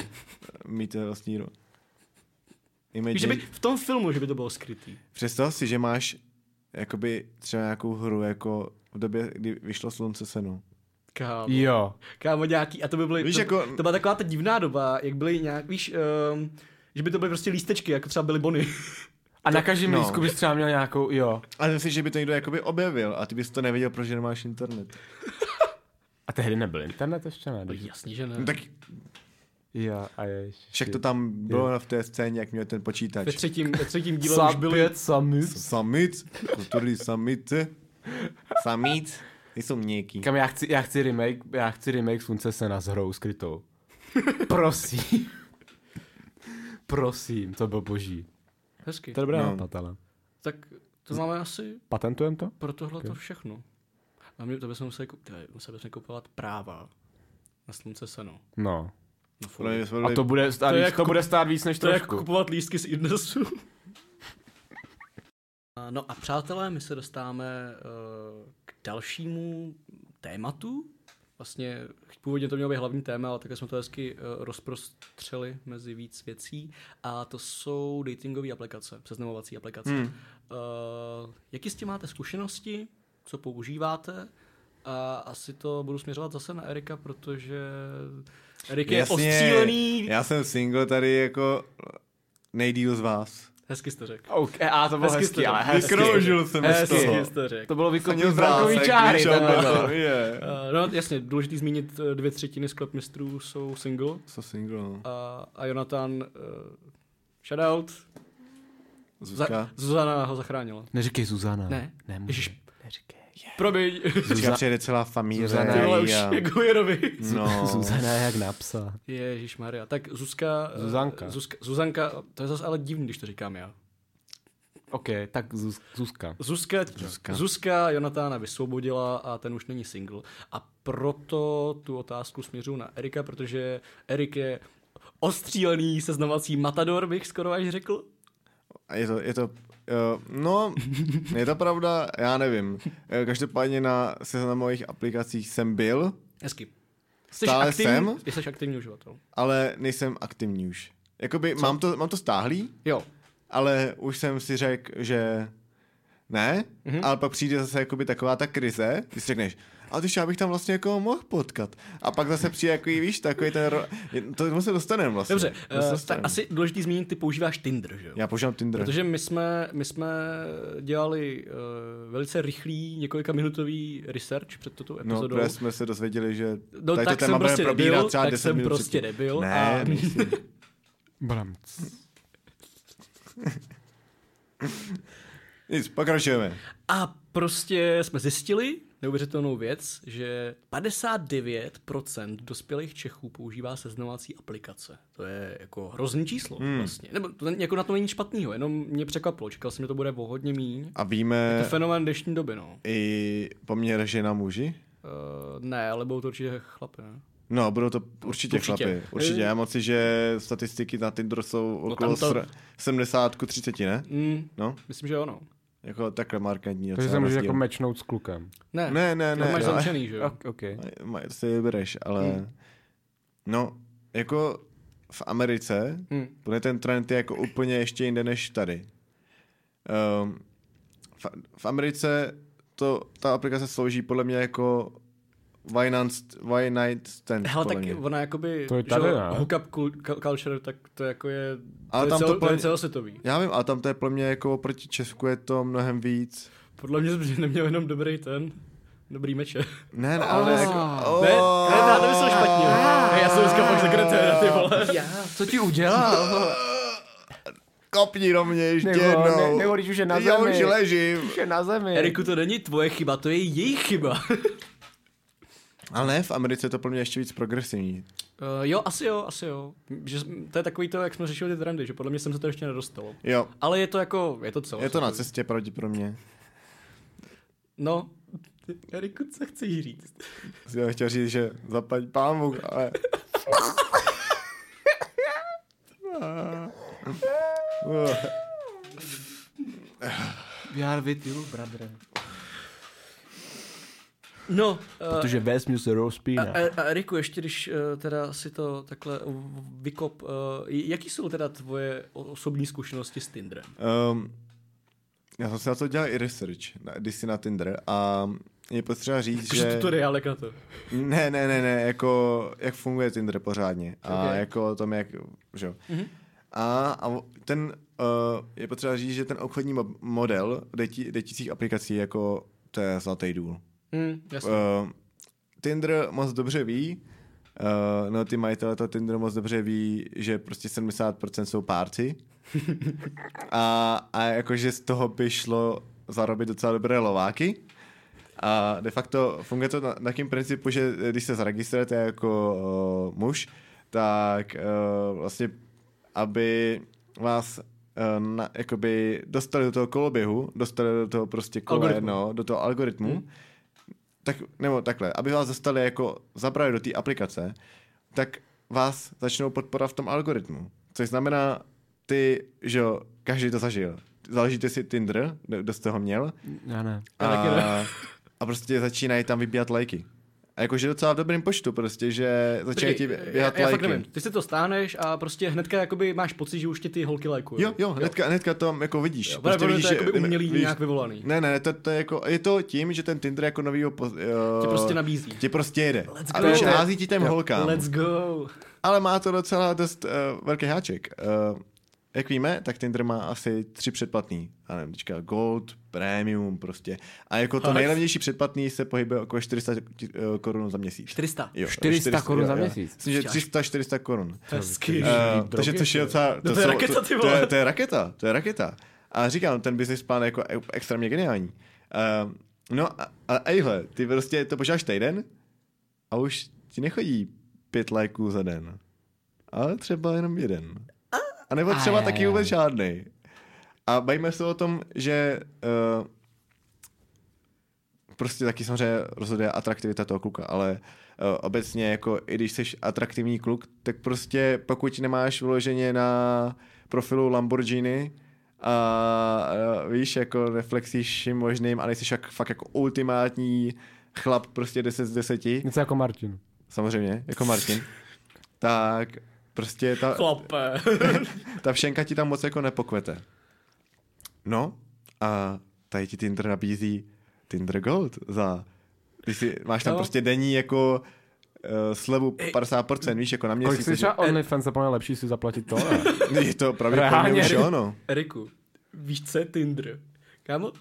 B: Mít vlastní... ro-
A: Víš, že by
B: Imagine...
A: v tom filmu, že by to bylo skrytý.
B: Představ si, že máš jakoby třeba nějakou hru jako v době, kdy vyšlo slunce senu.
A: Kámo.
C: Jo.
A: Kámo nějaký, a to by byly,
B: Víš,
A: to,
B: jako-
A: to byla taková ta divná doba, jak byly nějak, víš, um, že by to byly prostě lístečky, jako třeba byly bony.
C: A na každém
B: no.
C: lístku bys třeba měl nějakou, jo.
B: A myslím si, že by to někdo jakoby objevil a ty bys to nevěděl, protože nemáš internet.
C: A tehdy nebyl internet ještě ne. když-
A: Jasně, že ne.
B: No tak
C: Jo, a jež.
B: však to tam bylo v té scéně, jak měl ten počítač.
A: Ve třetím, ve třetím díle už byly,
C: Sapět samic.
B: Samic, kulturní samice. Samic, nejsou měkký.
C: Kam já chci, já chci remake, já chci remake Slunce se na s hrou skrytou. Prosím. Prosím, to byl boží.
A: hezky.
C: To je dobrá
B: No.
C: nápad, ale.
A: Tak to máme asi
C: Patentujeme to?
A: pro tohle to všechno. A my to bychom museli, kup- tyhle, museli bychom kupovat práva na slunce seno.
C: No.
A: Na full.
B: Podle mě jsme
C: A to
B: byli-
C: bude stát,
A: To
C: to,
A: je
C: víc,
A: jak
C: to
A: kup-
C: bude stát víc než
A: To je jako
C: trošku.
A: kupovat lístky z Idnesu. No a přátelé, my se dostáváme eh, k dalšímu tématu. Vlastně původně to mělo být hlavní téma, ale takhle jsme to hezky eh, rozprostřeli mezi víc věcí. A to jsou datingové aplikace, seznamovací aplikace. Hmm. Jaký s tím máte zkušenosti? Co používáte? A asi to budu směřovat zase na Erika, protože Erik je Jasně. ostřílený.
B: já jsem single tady jako nejdíl z vás.
A: Hezky jste řekl.
C: Okay, a to bylo
A: Hezky
C: hezky,
A: jste
C: hezky ale
A: to-
C: hezky.
B: Vykroužil jsem z
A: Hezky
B: toho.
A: jste řekl.
C: To bylo vykopný
B: Měl
C: z brankový
B: zásek,
C: čáry.
B: víš,
C: tenhle
B: ale-
C: to.
B: je.
A: Eh, No jasně, důležitý zmínit, eh, dvě třetiny sklep mistrů jsou single
B: Jsou single, no.
A: a, a Jonathan, uh, shoutout,
B: Zuzka.
A: za, Zuzana ho zachránila.
C: Neříkej Zuzana.
A: Ne.
C: Nemůže.
A: Ježiš.
C: Neříkej.
A: Promiň,
B: Teďka přijede celá famílie.
C: Zuzana
A: ty vole už
B: a-
A: jako jerovi.
B: No.
C: Zuzana je jak napsa.
A: Ježíš Maria. Tak Zuzka, eh,
C: Zuzanka.
A: Zuzka, Zuzanka, to je zase ale divný, když to říkám já.
C: OK, tak Zuz, Zuzka.
A: Zuzka, Zuzka. Zuzka Jonatána vysvobodila a ten už není single. A proto tu otázku směřuji na Erika, protože Erik je ostřílený seznamovací matador, bych skoro až řekl.
B: A je to, je to, uh, no, je to pravda, já nevím. Eh, Každopádně na seznamových aplikacích jsem byl,
A: Hezky. Jsi
B: Stále
A: aktivní,
B: jsem?
A: Jsi aktivní uživatel.
B: ale nejsem aktivní už. Jakoby mám to, mám to stáhlý,
A: Jo.
B: ale už jsem si řekl, že ne?
A: Mhm.
B: Mm-hmm. Ale pak přijde zase jakoby taková ta krize, ty si řekneš, a když já bych tam vlastně jako mohl potkat. A pak zase přijde jako, víš, takový ten... Ro... To tomu se dostaneme vlastně.
A: Dobře,
B: Tomu se
A: uh, tak
B: dostaneme.
A: asi důležitý zmínit, ty používáš Tinder, že jo?
B: Já používám Tinder.
A: Protože my jsme, my jsme dělali uh, velice rychlý několika minutový research před tuto
B: No,
A: epizodou.
B: protože jsme se dozvěděli, že
A: No,
B: tady
A: tak
B: to
A: jsem
B: téma budeme
A: prostě
B: probírat
A: debil,
B: třeba
A: tak
B: 10
A: jsem
B: minut
A: prostě
B: předtím.
A: debil
B: Ne,
A: a-
B: nejsi.
C: Bram.
B: Nic, pokračujeme.
A: A prostě jsme zjistili neuvěřitelnou věc, že 59% dospělých Čechů používá seznamovací aplikace. To je jako hrozný číslo hmm. vlastně. Nebo to, není- jako na to není nic špatného, jenom mě překvapilo. Čekal jsem, že to bude o hodně míň.
B: A víme
A: To fenomén dnešní doby, no.
B: i poměr žena muži?
A: Uh, ne, ale budou to určitě chlapy, ne?
B: No, budou to určitě, určitě.
A: Určitě. No,
B: chlapy. Určitě. Já moc si, že statistiky na Tinder jsou okolo
A: tam to-
B: sr- 70 ku 30, ne?
A: Mm,
B: No,
A: myslím, že ono.
B: jako takhle markantní.
C: Takže
B: docela
C: se můžeš
B: rozdíl.
C: jako mečnout s klukem.
A: Ne,
B: Ne, ne,
A: to
B: ne.
A: máš
B: ale-
A: zamčený, že jo?
C: Ok, okay.
B: Maj- si vybereš, ale...
A: Mm.
B: No, jako v Americe
A: Hmm.
B: Podle ten trend je jako úplně ještě jinde než tady. Um, v, v Americe to, ta aplikace slouží podle mě jako why, not, why night stand.
A: Hele,
B: podle
A: tak
B: mě.
A: ona jakoby,
C: To je
A: že
C: tady,
A: jo,
C: ne?
A: hookup cul- cul- culture, tak to jako je,
B: Ale
A: to je,
B: tam to
A: celo, to
B: plně-
A: je celosvětový.
B: Já vím, ale tam to je podle mě jako proti Česku je to mnohem víc.
A: Podle mě jsi neměl jenom dobrý ten, dobrý meče.
B: Ne, ne
C: Ah.
B: ale jako...
A: Ne, ne, ne, to myslel špatně.
B: Ah.
A: Hej, já jsem dneska fakt sekretér, ty vole.
C: Já, co ti udělal?
B: Kopni do mě ještě
C: Nebo-
B: jednou.
C: ne- nebo když už je na
B: Já
C: zemi.
B: už ležím.
C: Už je na zemi.
A: Eriku, to není tvoje chyba, to je jejich chyba.
B: Ale ne, v Americe je to podle mě ještě víc progresivní.
A: Uh, jo, asi jo, asi jo. Že, jsme- to je takový to, jak jsme řešili ty trendy, že podle mě jsem se to ještě nedostalo.
B: Jo,
A: Ale je to jako, je to celé.
B: je to na cestě pravděpodobně.
A: No, Eriku, co chceš říct?
B: Já chtěl říct, že zaplať pán Bůh, ale...
C: We are with you, brother.
A: No, uh,
D: Protože vesmír se rozpíná.
A: A, a- a Riku, ještě když eh, teda si to takhle v- vykop, eh, jaký jsou teda tvoje o- osobní zkušenosti s Tinderem?
B: Um, já jsem si na to dělal i research, na, když jsi na Tinder a je potřeba říct,
A: Takže
B: že...
A: tutoriálek na to.
B: Ne, ne, ne, ne, jako jak funguje Tinder pořádně a
A: Ok.
B: jako o tom, jak, že jo. A, a ten, uh, je potřeba říct, že ten obchodní mo- model deti- deticích aplikací jako to je zlatý důl.
A: Hmm, jasně.
B: Uh, Tinder moc dobře ví, uh, no ty majitele to Tinder moc dobře ví, že prostě 70% jsou párci a, a jakože z toho by šlo zarobit docela dobré lováky. A de facto funguje to na, na tím principu, že když se zaregistrujete jako uh, muž, tak uh, vlastně, aby vás uh, na, jakoby dostali do toho koloběhu, dostali do toho prostě kola
A: Algoritmu.
B: jednoho, do toho algoritmu, hmm tak, nebo takhle, aby vás dostali jako zabrali do té aplikace, tak vás začnou podporovat v tom algoritmu. Což znamená, ty, že jo, každý to zažil. Založíte si Tinder, kdo kdo jste ho měl,
C: Já ne.
B: a,
A: Já taky
B: a prostě začínají tam vybíhat lajky. A jakože docela v dobrém počtu prostě, že začínají ti
A: Počkej,
B: běhat
A: já, já fakt
B: lajky.
A: nevím, ty si to stáhneš a prostě hnedka jakoby máš pocit, že už tě ty holky lajkují.
B: Jo, jo, hnedka, hnedka to jako vidíš.
A: Prostě to je jakoby
B: ne-
A: umělý
B: vidíš-
A: nějak vyvolaný.
B: Ne, ne, to, to je jako, je to tím, že ten Tinder jako novýho... Po,
A: Tě
B: eh,
A: prostě nabízí.
B: Ti prostě jede.
A: Let's
B: a
A: go.
B: už hází ti tam holkám.
A: Let's go.
B: Ale má to docela dost uh, velký háček. Uh, jak víme, tak Tinder má asi tři předplatný. Já nevím, teďka Gold, Premium prostě. A jako to
A: Fakt?
B: nejlevnější předplatný se pohybuje okolo 400 ti- eh, korun za měsíc.
A: 400.
B: Jo,
C: 400 korun za měsíc?
B: Myslím, že 300, 400 korun.
A: To je skvělý.
B: Uh, takže to je docela...
A: No, to je raketa, ty
B: to, je,
A: vole.
B: to je raketa, to je raketa. A říkám, ten business plán je jako e- extrémně geniální. Uh, no a, a ejhle, ty prostě to požáš týden a už ti nechodí pět lajků za den. Ale třeba jenom jeden. A nebo třeba
D: Aj, aj,
B: taky
D: aj.
B: vůbec žádný. A bavíme se o tom, že uh, prostě taky samozřejmě rozhoduje atraktivita toho kluka, ale uh, obecně jako i když jsi atraktivní kluk, tak prostě pokud nemáš vyloženě na profilu Lamborghini a uh, víš, jako reflexíš vším možným a nejsi jak, fakt jako ultimátní chlap prostě 10 z 10,
C: Něco jako Martin.
B: samozřejmě, jako Martin, tak prostě ta,
A: Chlape.
B: ta všenka ti tam moc jako nepokvete. No a tady ti Tinder nabízí Tinder Gold za... Když si, máš tam
A: No.
B: prostě denní jako uh, slevu 50%, víš, jako na
C: Kolik
B: měsíc.
C: si
B: takže-
C: třeba OnlyFans zapomněl lepší si zaplatit to, ne?
B: Je to pravděpodobně
C: Reálně.
B: už no. ono.
A: Eriku, víš, co je Tinder? Kámo,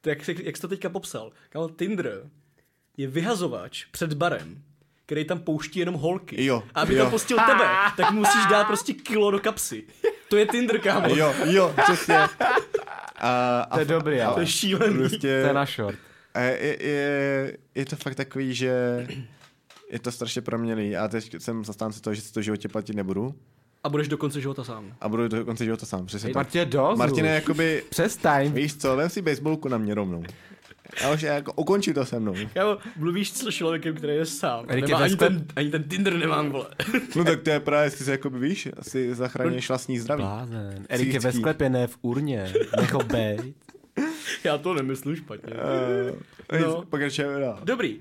A: to jak, jsi- jak jsi to teďka popsal? Kámo, Tinder je vyhazovač před barem, který tam pouští jenom holky.
B: Jo,
A: A aby
B: jo.
A: tam pustil tebe, tak musíš dát prostě kilo do kapsy. To je Tinder, kámo.
B: Jo, jo, přesně. A, a,
C: To je dobrý,
B: a,
C: ale.
A: To je šílený.
C: To
B: Prostě,
C: je na short.
B: a je, je, je, to fakt takový, že je to strašně proměný. A teď jsem zastánce toho, že si to v životě platit nebudu.
A: A budeš do konce života sám.
B: A budu do konce života sám, přesně tak.
C: Martě, dost.
B: Martine,
C: už.
B: jakoby,
C: Přestaň.
B: víš co, vem si baseballku na mě rovnou. Já už jako ukončí to se mnou.
A: Kámo, mluvíš s člověkem, který je sám.
C: Erik,
A: Nemá
C: je
A: ani,
C: vespe-
A: ten, ani ten Tinder nemám, vole.
B: No tak to je právě, jestli se jakoby, víš, si zachráníš vlastní zdraví.
D: Blázen.
B: Erik je ve Cítický.
D: sklepě, ne v urně.
C: jako
D: Nech ho bej.
A: Já to nemyslím špatně.
B: Uh,
A: No.
B: no. Pokračujeme dál.
A: Dobrý.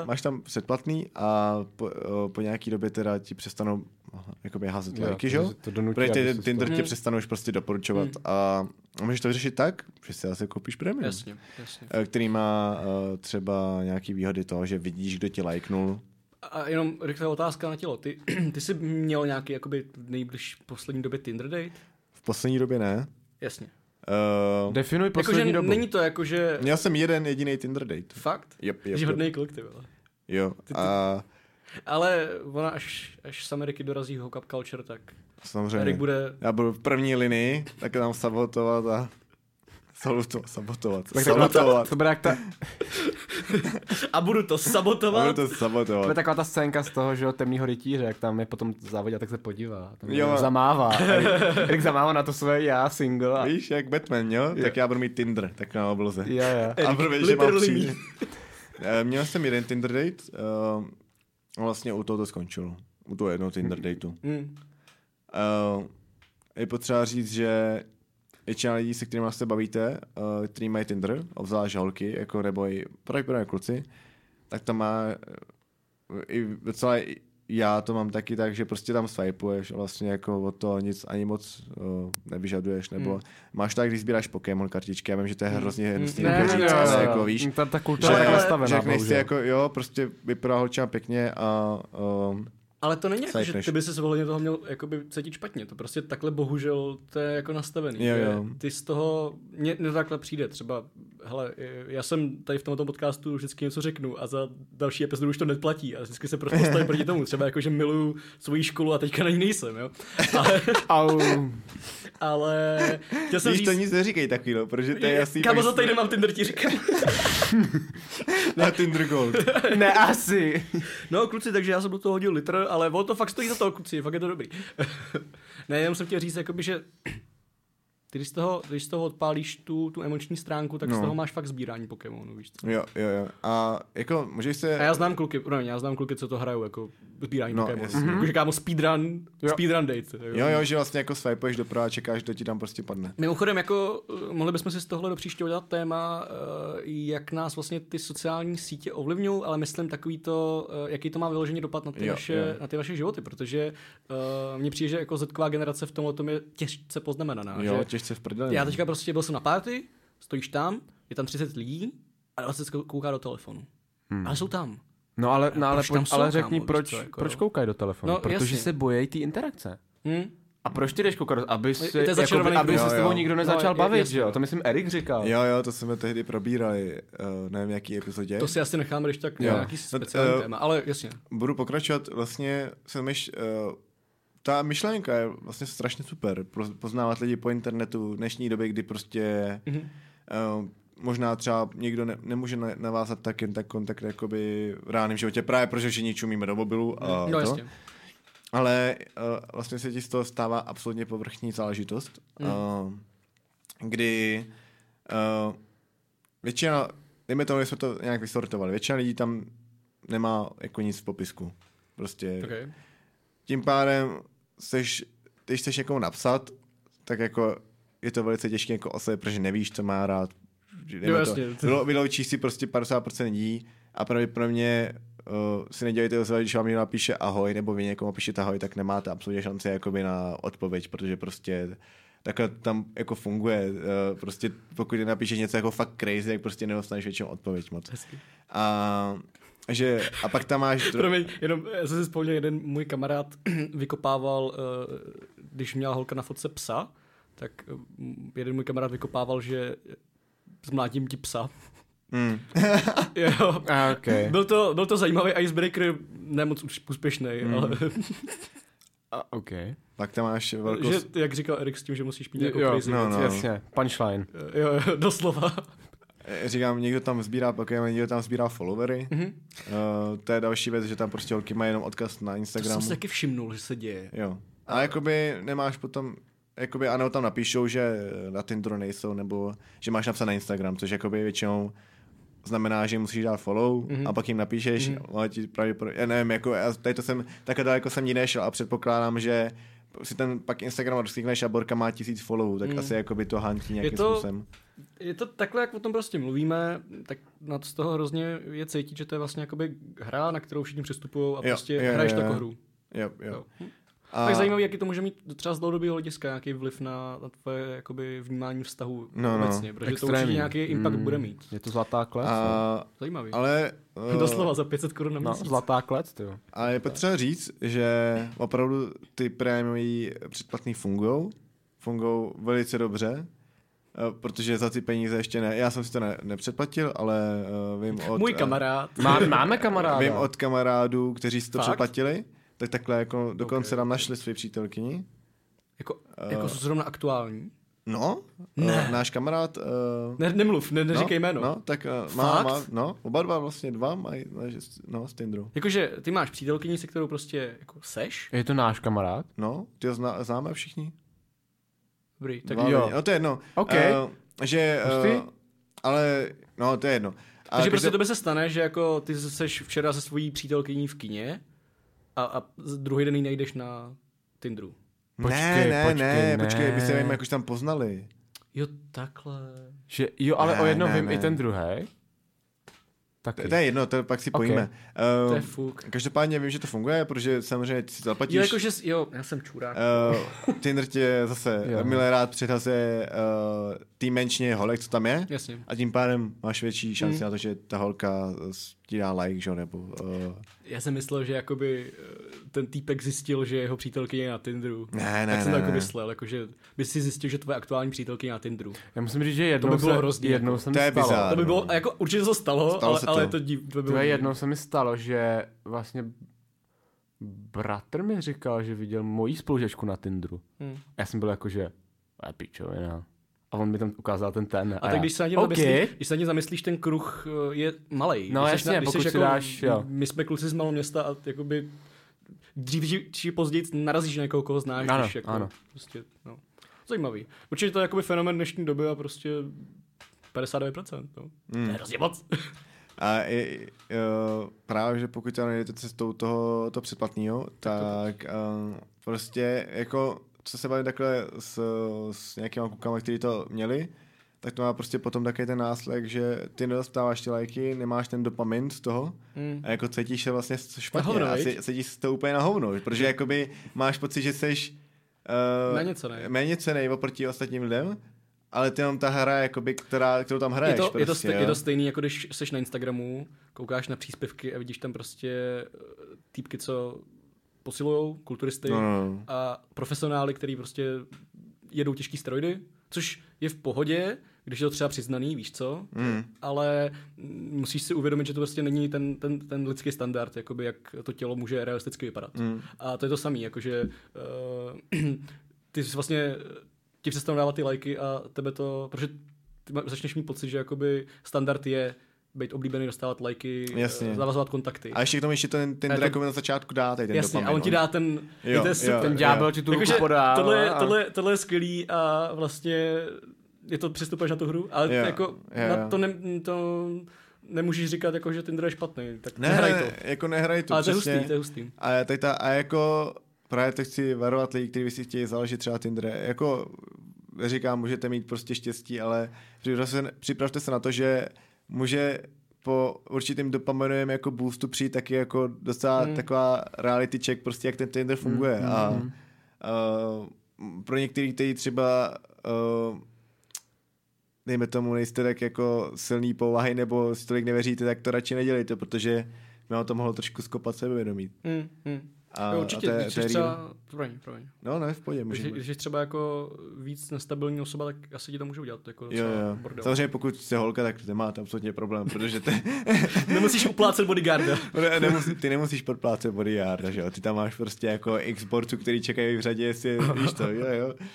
A: Uh,
B: Máš tam předplatný a po, eh, po nějaký době teda ti přestanou aha, jakoby házet
C: Jo,
B: lajky,
C: to-
B: že jo?
C: že to donutí,
B: Protože
C: aby
B: ty-
C: si to-
B: Tinder ti přestanou už prostě doporučovat a a můžeš to vyřešit tak, že si zase koupíš premium.
A: jasně, jasně.
B: eh, Který má eh, třeba nějaký výhody toho, že vidíš, kdo ti lajknul.
A: A jenom rychlá otázka na tělo. Ty, ty jsi měl nějaký jakoby nejbliž poslední době Tinder date?
B: V poslední době ne.
A: Jasně.
B: Eh,
C: Definuj
A: Jakože
C: poslední dobu.
A: Jako, není to jakože
B: Měl jsem jeden jediný Tinder date.
A: fakt?
B: Jep,
A: Jsi
B: jep, jep.
A: hodnej kluk, ty vole.
B: Jo. A
A: Ale ona až, až z Ameriky dorazí hookup culture, tak Erik
B: samozřejmě.
A: bude...
B: Já budu v první linii, tak tam sabotovat a salutovat, sabotovat,
C: Tak taková ta,
B: salutovat.
C: to bude jak ta,
A: A budu to
B: A
A: sabotovat.
B: budu to
C: to
B: sabotovat.
C: bude taková ta scénka z toho, že jo, temního rytíře, jak tam je potom závodí a tak se podívá. Tam
B: Jo.
C: jo. zamává. Erik, Erik zamává na to svoje já single. A,
B: Víš, jak Batman, jo? Tak já budu mít Tinder, tak na obloze.
C: jo, jo.
B: A budu vědět, že mám
A: literally
B: přijít. Eh, Měl jsem jeden Tinder date, eh, a vlastně u toho to skončilo. U toho jednoho Tinder dateu.
A: Hmm.
B: Eh, Je potřeba říct, že je čím lidí, se kterými se bavíte, eh, který mají Tinder, obzvlášť holky, jako nebo i pravděpodobně kluci, tak tam má eh, i docela i- já to mám taky tak, že prostě tam swipeuješ a vlastně jako od toho nic ani moc uh, nevyžaduješ,
A: Hmm.
B: nebo máš tak, když sbíráš Pokémon kartičky, já vím, že to je hrozně hnusný,
A: Ne,
B: jako
A: ne,
B: říct,
A: ne,
B: ale
A: ne, Hmm.
B: jako víš,
C: Ta, ta kultura
B: že,
C: je tak
B: že
C: nastavená,
B: jak nechci
C: bohužel.
B: jako, jo, prostě vypadá holčina pěkně a um,
A: Ale to není jako, že
B: Sajtneš.
A: ty by se ohledně toho měl jakoby cítit špatně. To prostě takhle bohužel to je jako nastavený.
B: Jo,
A: že
B: jo.
A: Ty z toho, mně mně to takhle přijde třeba, hele, já jsem tady v tomto podcastu vždycky něco řeknu a za další epizodu už to neplatí a vždycky se prostě postavím proti tomu. Třeba jako, že miluju svoji školu a teďka na ní nejsem, jo. Ale,
C: Au.
A: ale chtěl jsem
B: víš,
A: říct,
B: to nic neříkej takový, no, protože to je jasný.
A: Kámo,
B: pak
A: za
B: si-
A: týden mám Tinder, ti říkám.
B: Na Tinder Gold.
C: Ne, asi.
A: No, kluci, takže já jsem do toho hodil litr, ale ono to fakt stojí za to, kluci, fakt je to dobrý. ne, jenom jsem chtěl říct, jakoby, že ty, když z toho, když z toho odpálíš tu, tu emoční stránku, tak no. z
B: No.
A: toho máš fakt sbírání Pokémonů, víš co?
B: Jo, jo, jo. A jako můžeš se...
A: A já znám kluky, no, já znám kluky, co to hrajou, jako sbírání
B: No,
A: no, Pokémonů.
B: jasně.
A: Mm-hmm. Jakože kámo, speedrun,
C: Jo.
A: speedrun date. jako.
B: Jo, jo, že vlastně jako swipuješ doprava a čekáš, kdo ti tam prostě padne.
A: Mimochodem, jako eh, mohli bychom si z tohle do příště udělat téma, eh, jak nás vlastně ty sociální sítě ovlivňují, ale myslím takový to, eh, jaký to má vyloženě dopad na ty,
B: Jo,
A: jo, naše,
B: jo.
A: Na ty vaše životy, protože uh, mně přijde, že jako zetková generace v tomhle tom je těžce poznamenaná.
B: Jo,
A: že?
B: těžce v prdeli.
A: Já teďka prostě byl jsem na party, stojíš tam, je tam 30 lidí a 20 kou- kouká do telefonu. Hmm. Ale jsou tam.
C: No ale, no, ale,
A: Proč tam
C: pojď,
A: jsou,
C: ale řekni,
A: kámo,
C: proč,
A: víš co, jako
C: proč
A: jo.
C: koukají do telefonu?
A: No,
C: Protože
A: jasně.
C: se bojejí ty interakce.
A: Hm?
C: A proč ty jdeš koukat, do- aby
A: je
C: se,
A: to začarovaný
C: jakoby, aby
A: kruh.
C: se
B: Jo,
C: s tebou
B: jo.
C: nikdo
A: No,
C: nezačal
A: je-
C: bavit,
A: jasně.
C: že jo? To myslím Erik říkal.
B: Jo, jo, to jsme tehdy probírali, uh, nevím, jaký epizodě.
A: To si asi necháme, když tak na
B: Jo.
A: nějaký
B: No,
A: speciální
B: eh,
A: téma, ale jasně.
B: Budu pokračovat, vlastně jsem myš, uh, ta myšlenka je vlastně strašně super, pro, poznávat lidi po internetu v dnešní době, kdy prostě
A: Mhm.
B: mm-hmm. uh, možná třeba někdo ne, nemůže na- navázat tak jen tak kontakt jakoby v reálném životě, právě protože všichni čumíme do mobilu a
A: No
B: eh, to.
A: jasně.
B: Ale uh, vlastně se ti z toho stává absolutně povrchní záležitost, mm. uh, kdy uh, většina, dejme tomu, že jsme to nějak vysortovali, většina lidí tam nemá jako nic v popisku. Prostě okay.
A: Okay.
B: tím pádem, seš, když chceš někomu napsat, tak jako je to velice těžké jako osobe, protože nevíš, co má rád. Dejme
A: Jo, jasně.
B: To, vylo- vyloučíš si prostě 50% lidí a pravděpodobně uh, si nedělejte rozhovor, když vám někdo napíše ahoj, nebo vy někomu píšete ahoj, tak nemáte absolutně šanci jakoby na odpověď, protože prostě takhle tam jako funguje. Eh, Prostě pokud napíšeš něco jako fakt crazy, tak prostě nedostaneš většinou odpověď moc.
A: Hezky.
B: A, že, a pak tam máš... dro-
A: Promiň, jenom eh, jsem si vzpomněl, jeden můj kamarád vykopával, eh, když měla holka na fotce psa, tak eh, m- jeden můj kamarád vykopával, že zmlátím ti psa.
B: Mm.
A: Jo.
C: A, okay.
A: Byl, to, byl to zajímavý icebreaker, ne moc ús- úspěšný, mm. ale
C: A, okay.
B: Pak tam máš velkou...
A: že, jak říkal Erik s tím, že musíš mít jako
C: Jo,
A: crazy.
B: no,
A: No,
B: no.
A: no.
C: Jasně, punchline.
A: Jo, jo, doslova.
B: Eh, Říkám, někdo tam sbírá Pokémon, někdo tam sbírá followery.
A: Mhm.
B: Mm-hmm. Uh, to je další věc, že tam prostě holky mají jenom odkaz na
A: To jsem
B: Instagramu.
A: si taky všimnul, že se děje.
B: Jo. A jakoby nemáš potom, jakoby ano, tam napíšou, že eh, na Tinderu nejsou, nebo že máš napsat na Instagram, což jakoby většinou znamená, že jim musíš dát follow
A: Mhm.
B: mm-hmm. a pak jim napíšeš, mm-hmm. ale ti pravděpodobně, já nevím, jako já tady to jsem, takhle daleko jsem nikdy nešel a předpokládám, že si ten pak Instagram rozklikneš a Borka má tisíc followů, tak mm. asi jakoby to hantí nějakým
A: Mhm. to-
B: způsobem.
A: Je to takhle, jak o tom prostě mluvíme, tak nad z toho hrozně je cítit, že to je vlastně jakoby hra, na kterou všiní přistupují a
B: Jo,
A: prostě
B: jo,
A: hraješ
B: jo, jo.
A: takovou hru.
B: Jo, jo.
A: Jo. Hm.
B: A,
A: Tak zajímavý, jaký to může mít třeba z dlouhodobého hlediska nějaký vliv na, na tvoje jakoby, vnímání vztahu
B: No,
A: no,
B: no.
A: obecně, protože to
C: Extrémní.
A: určitě nějaký impact
C: Mm.
A: bude mít.
C: Je to zlatá klec? A...
B: a,
A: Zajímavý. Ale,
B: ale... eh,
A: Doslova za 500 korun na
C: No,
A: měsíc.
C: zlatá klec, ty jo.
B: A je potřeba říct, že opravdu ty prémiové předplatný fungují. Fungují velice dobře, eh, protože za ty peníze ještě ne. Já jsem si to ne, nepředplatil, ale eh, vím od,
A: Můj
B: eh,
A: kamarád.
C: Má, máme kamaráda.
B: vím od kamarádů, kteří si to
A: Fakt?
B: předplatili, tak takhle jako dokonce okay. tam našli své přítelkyni.
A: Jako,
B: Eh.
A: jako zrovna aktuální.
B: No, ne. náš kamarád... eh,
A: Ne, nemluv, ne, neříkej
B: no,
A: jméno.
B: No, tak eh, má,
A: Fakt?
B: má, no, oba dva vlastně dva mají, no, z Tinderu.
A: Jakože ty máš přítelkyni, se kterou prostě jako seš.
C: Je to náš kamarád?
B: No, ty ho zná, známe všichni?
A: Dobrý, tak
B: Tak Dva
C: jo.
B: lidi. No to je jedno.
C: OK.
B: Uh, že, uh,
C: Hustý?
B: ale, no to je jedno. A
A: Takže prostě
B: každop-
A: tebe se stane, že jako ty seš včera se svojí přítelkyní v kině a, a z- druhý den ji najdeš na Tinderu.
B: ne,
C: Počkej,
B: ne,
C: počkej,
B: ne,
C: ne.
B: počkej, my se nevíme, jak už tam poznali.
A: Jo, takhle.
C: Že, jo, ale
B: Ne,
C: ne, o jednom
B: ne,
C: vím
B: ne.
C: i ten druhý. Taky.
B: To, to je jedno, to pak si
C: OK.
B: pojíme. Uh,
A: To je fuk.
B: Každopádně vím, že to funguje, protože samozřejmě ty si zaplatíš.
A: Jo, jakože, s- jo, já jsem čurák.
B: Uh, Tinder tě zase
C: Jo.
B: milé rád přihlasuje uh, tý menšině holek, co tam je.
A: Jasně. Mm.
B: A tím pádem máš větší šanci na to, že ta holka eh, ti dá like, že jo, nebo... Uh,
A: Já jsem myslel, že jakoby eh, ten týpek zjistil, že jeho přítelkyně je na Tinderu.
B: Ne, ne,
A: tak jsem
B: ne,
A: to jako
B: ne.
A: myslel, jakože by si zjistil, že tvoje aktuální přítelkyně je na Tinderu.
C: Já musím říct, že jednou,
A: by bylo
C: se,
A: hrozný,
C: jednou
A: jako.
C: jsem
B: To je
C: stalo.
B: bizár.
A: To by
B: Ano.
A: bylo, a jako určitě se to stalo,
B: Stalo
A: ale,
B: se to.
A: ale to dí, by bylo
C: Tvé
A: divný.
C: jednou se mi stalo, že vlastně bratr mi říkal, že viděl moji spolužečku na Tinderu.
A: Hmm.
C: Já jsem byl jako, že a pičovina. A on mi tam ukázal ten ten.
A: A
C: já,
A: tak když se na ně
C: OK.
A: zamyslíš, když se na ně zamyslíš, ten kruh eh, je malý.
C: No
A: když seš
C: jasně,
A: na, když
C: pokud
A: seš
C: si dáš, jo.
A: My jsme kluci z malého města a jakoby dřív či- či později narazíš na někoho, koho znáš.
C: Ano,
A: když jako,
C: ano.
A: Prostě, no. Zajímavý. Určitě to je jakoby fenomen dnešní doby a prostě 59%. No.
B: Hmm.
A: Mm. To je hrozně moc.
B: A i, i, uh, právě, že pokud tam jdete cestou toho to předplatného, tak um, prostě jako, co se bavím takhle s, s nějakýma klukama, kteří to měli, tak to má prostě potom taky ten následek, že ty nedostáváš ty lajky, nemáš ten dopamin z toho
A: Mm.
B: a jako cítíš se vlastně špatně
A: hovno,
B: a
A: viď?
B: cí- cítíš se to úplně na hovno, protože jakoby máš pocit, že seš uh,
A: Méněcenej.
B: méně cenej oproti ostatním lidem, ale ty jenom ta hra, jakoby, která, kterou tam hraješ.
A: je, to, je, to
B: prostě,
A: stej, je
B: jo.
A: to stejný, jako když seš na Instagramu, koukáš na příspěvky a vidíš tam prostě eh, týpky, co posilujou, kulturisty
B: No, no, no.
A: a profesionály, který prostě jedou těžký steroidy, což je v pohodě, když je to třeba přiznaný, víš co,
B: Hmm.
A: mm. ale mm, musíš si uvědomit, že to prostě není ten, ten, ten lidský standard, jakoby jak to tělo může realisticky vypadat.
B: Hmm.
A: Mm. A to je to samé, jakože uh, ty jsi vlastně ti přestanou dávat ty lajky a tebe to, protože ty ma- začneš mít pocit, že jakoby standard je být oblíbený, dostávat lajky,
B: Jasně.
A: eh, zavazovat kontakty.
B: A ještě k tomu ještě ten, ten
A: Ne, to-
B: drak na začátku dá tady ten
A: Jasně,
B: dopamin.
A: a on ti dá ten,
B: Jo,
A: jo, to
B: jo.
A: je super.
C: Ten
B: Jo.
C: ďábel ti tu ruku podá.
A: tohle, je,
C: a-
A: tohle, tohle je skvělý a vlastně je to přistupuješ na tu hru, ale
B: Jo,
A: jo, jako
B: jo, jo.
A: Na to, ne, to nemůžeš říkat, jako, že Tinder je špatný, tak
B: Ne,
A: nehraj
B: ne,
A: to.
B: ne, jako nehraj to,
A: ale to je
B: přesně.
A: hustý, to je hustý.
B: A, tady ta, a jako právě to chci varovat lidi, kteří by si chtěli založit třeba Tinder. Jako říkám, můžete mít prostě štěstí, ale připravte se, připravte se na to, že může po určitým dopaminovém jako boostu přijít taky jako docela mm. taková reality check, prostě jak ten Tinder funguje. Mm. A, a pro některý, kteří třeba uh, dejme tomu, nejste tak jako silný povahy nebo si tolik nevěříte, tak to radši nedělejte, protože by vám to mohlo trošku skopat sebevědomí.
A: Mm, mm.
B: A,
A: jo, určitě,
B: a to je-
A: když
B: to je
A: jsi
B: real.
A: třeba, promiň, promiň.
B: No, ne, v pohodě,
A: Když,
B: můžeme.
A: když jsi třeba jako víc nestabilní osoba, tak asi ti to může udělat jako
B: Jo,
A: docela
B: jo.
A: bordel.
B: Samozřejmě pokud jste holka, tak nemáte absolutně problém, protože ty,
A: Nemusíš uplácet bodyguarda.
B: ne- nemusí, ty nemusíš podplácet bodyguarda, že jo? Ty tam máš prostě jako x borců, který čekají v řadě, jestli víš to, jo, jo.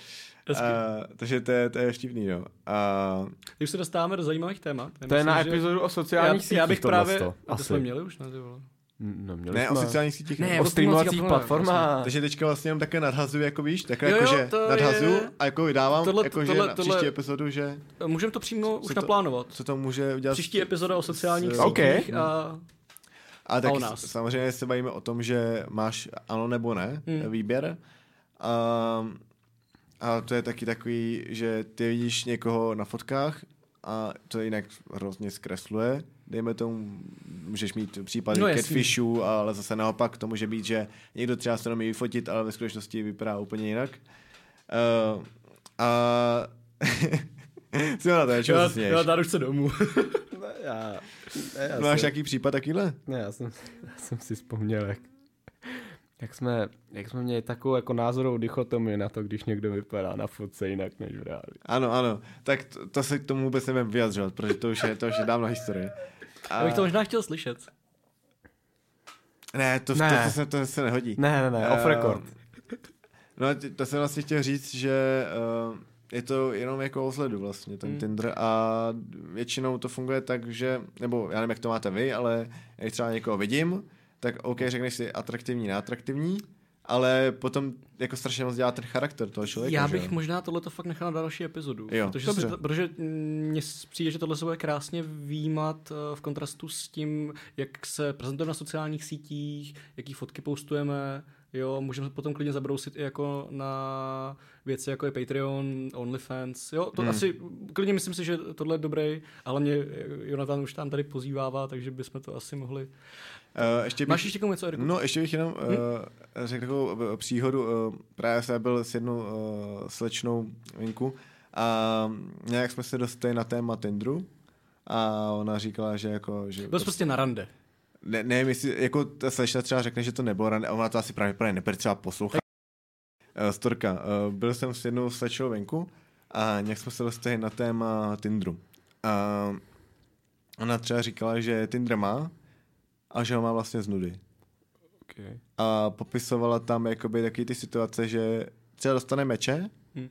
A: Hezky.
B: A, takže to je, to je štívný, jo. A,
A: Když se dostáváme do zajímavých témat. já
C: To je
A: myslím,
C: na
A: že-
C: epizodu o
A: já,
C: sociálních sítích
A: já bych právě...
C: tohleto.
A: A to
D: asi.
A: jsme měli už, ne? Ty vole.
C: No, měli
B: ne, o
C: jsme.
B: sociálních sítích.
A: Ne,
C: o
A: o
D: Vlastně.
C: streamovacích
A: streamovacích
C: platformách.
B: Takže teďka vlastně jenom také nadhazuju, jako víš, takhle
A: Jo, jo,
B: jako, že
A: to
B: nadhazuju
A: je-
B: a jako vydávám,
A: Tohle-
B: jako, že
A: tohle-
B: na
A: tohle-
B: příští epizodu, že
A: Můžeme to přímo už
B: to-
A: naplánovat.
B: co to může udělat.
A: Příští epizoda o sociálních
B: s-
A: sítích
C: OK.
A: a
B: A
A: o
B: tak
A: nás.
B: samozřejmě se bavíme o tom, že máš ano nebo ne
A: Hmm.
B: hmm. výběr. A, a to je taky takový, že ty vidíš někoho na fotkách a to jinak hrozně zkresluje. Dejme tomu, můžeš mít případy
A: No,
B: no,
A: jasný.
B: catfishů, ale zase naopak to může být, že někdo třeba se jenom vyfotit, ale ve skutečnosti vypadá úplně jinak. Uh, a... Co na to, je, čeho
A: já,
B: se
A: já
B: směješ?
A: dám už se domů.
D: Ne, já, ne, já,
B: Máš
D: jsem,
B: nějaký případ takýhle?
D: ne, já, jsem, já jsem si vzpomněl, jak, jak, jsme, jak jsme měli takovou jako názorovou dichotomii na to, když někdo vypadá na fotce jinak než v reálu.
B: Ano, ano. Tak to, to se k tomu vůbec nebudem vyjadřovat, protože to už je, to už je dávno historie.
A: Já bych to možná chtěl slyšet.
B: Ne, to,
C: Ne.
B: ne. To, to, se, to se nehodí.
C: Ne, ne, ne, off
B: Ehm,
C: record.
B: No, t- to jsem vlastně chtěl říct, že uh, je to jenom jako o sledu vlastně, ten
A: Hmm.
B: hmm. Tinder a většinou to funguje tak, že, nebo já nevím, jak to máte vy, ale když třeba někoho vidím, tak OK, řekneš si atraktivní, neatraktivní, ale potom jako strašně moc dělá ten charakter toho člověka.
A: Já
B: že
A: bych
B: jo?
A: možná tohleto fakt nechal na další epizodu.
B: Jo,
A: protože
B: dobře.
A: se, protože mm, mně s- přijde, že tohle se bude krásně výjímat eh, v kontrastu s tím, jak se prezentujeme na sociálních sítích, jaký fotky postujeme, jo, můžeme potom klidně zabrousit i jako na věci, jako je Patreon, OnlyFans, jo, to hmm. asi, klidně myslím si, že tohle je dobrý, ale mě eh, Jonathan už tam tady pozývává, takže bychom to asi mohli.
B: Eh, ještě bych...
A: Máš ještě k tomu něco, Eriku?
B: No, ještě bych jenom
A: Mhm.
B: uh, řekl takovou eh, příhodu. Uh, právě jsem byl s jednou uh, slečnou venku a nějak jsme se dostali na téma Tindru a ona říkala, že jako... Že
A: Byl jsi prostě na rande.
B: ne, nevím, jestli, jako ta slečna třeba řekne, že to nebylo rande, a ona to asi právě, právě nebude třeba poslouchat. Uh, storka, uh, byl jsem s jednou slečnou venku a nějak jsme se dostali na téma Tindru. A ona třeba říkala, že Tinder má a že ho má vlastně z nudy
C: Okay.
B: a popisovala tam jakoby taky ty situace, že třeba dostane meče
A: Hm.
B: hmm.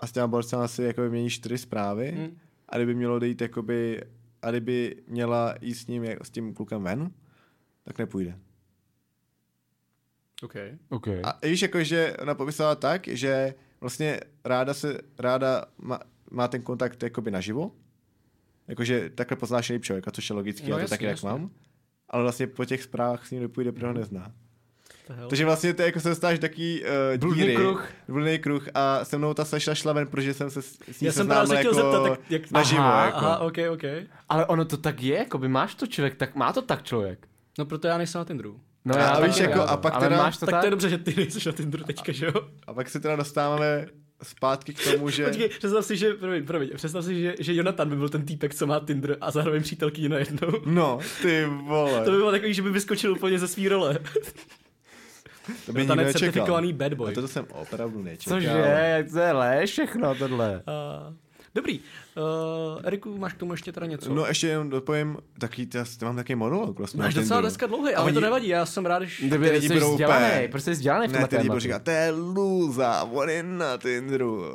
B: a s těma borcama si jakoby mění čtyři zprávy
A: Hm.
B: hmm. a kdyby mělo dejít jakoby, a kdyby měla jít s ním, jak- s tím klukem ven, tak nepůjde.
A: Okay.
C: Okay.
B: A víš, jakože ona popisovala tak, že vlastně ráda se, ráda má, má ten kontakt jakoby naživo, jakože takhle poznáš líp člověka, což je logický,
A: No
B: no, já to
A: jasně,
B: taky tak
A: jasně.
B: mám. Ale vlastně po těch zprávách s ním nepůjde, protože ho nezná.
A: To
B: Takže vlastně to je jako se dostáš taky uh,
C: Bludný
B: díry,
C: kruh.
B: bludný kruh a se mnou ta slešla šla ven, protože jsem se s s ní
A: Já jsem
B: seznámil
A: právě se chtěl
B: jako
A: zeptat, tak jak-
B: naživo.
C: Aha,
B: jako.
A: Aha, ok, ok.
C: Ale ono to tak je, jakoby máš to člověk, tak má to tak člověk.
A: No proto já nejsem na Tinderu.
C: No
B: A
C: taky
B: víš, jako, a pak
C: ale
B: teda-
C: máš
A: To
C: to
A: tak,
C: tak,
A: to je dobře, že ty nejsi na Tinderu teďka, že jo?
B: A pak se teda dostáváme zpátky k tomu, že...
A: Počkej, představ si, že, promiň, promiň, představ si, že, že Jonathan by byl ten týpek, co má Tinder a zároveň přítelkyni najednou.
B: No, ty vole,
A: To by
B: to by,
A: bylo takový, že by vyskočil úplně ze svý role.
B: to
A: Jonathan
B: by nikdo
A: je
B: nečekal.
A: certifikovaný bad boy.
B: A to jsem opravdu nečekal.
C: Cože, to je lež všechno tohle.
A: A, dobrý, uh, Eriku, máš k tomu ještě teda něco?
B: No ještě jenom dopovím, taky, já mám takový monolog vlastně.
A: máš
B: na
A: docela
B: Tinderu.
A: dneska dlouhý,
B: A
A: ale to
B: oni-
A: nevadí, já jsem rád, že...
C: Kdyby
B: ty lidi
C: jsi
B: budou
C: vzdělaný,
B: úplně-
C: prostě jsi vzdělaný v
B: Ne,
C: tomhle
B: ty lidi budou
C: tématu.
B: říkat, to je lůza, on je na Tinderu.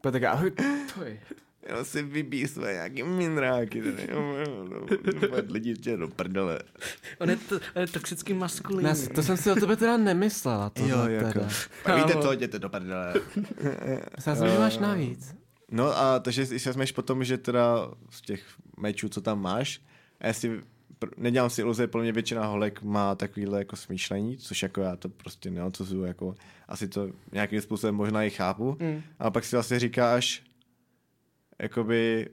C: To je tak, ahoj, to je.
B: Jenom si vybíjí své nějaký mindráky. Tady. Lidi tě do prdele.
A: On je, t- on je toxický maskulin.
C: Ne, to jsem si o tebe teda nemyslela,
B: Jo,
C: tohle
B: jako.
C: teda.
B: A víte co, jděte do prdele.
C: Já jsem, že máš navíc.
B: No a takže když se směš potom, že teda z těch mečů, co tam máš, a já si, pr- nedělám si iluze, podle mě většina holek má takovýhle jako smýšlení, což jako já to prostě neodsuzuju, jako asi to nějakým způsobem možná i chápu,
A: Mm.
B: mm. a pak si vlastně říkáš, jakoby,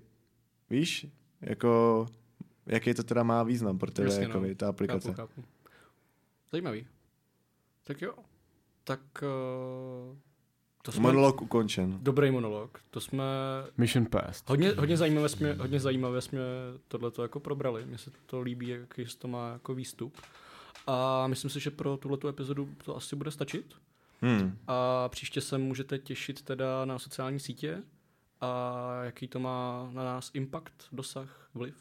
B: víš, jako, jaký to teda má význam pro tebe,
A: Jasně, no.
B: jakoby, ta aplikace.
A: Chápu, chápu. Zajímavý. Tak jo. Tak uh, To jsme,
B: Monolog ukončen.
A: Dobrý monolog. To jsme
C: Mission Past.
A: hodně, hodně zajímavé jsme, hodně zajímavé jsme tohleto jako probrali. Mně se to líbí, jaký to má jako výstup. A myslím si, že pro tuhletu epizodu to asi bude stačit.
B: Hmm.
A: A příště se můžete těšit teda na sociální sítě a jaký to má na nás impact, dosah, vliv.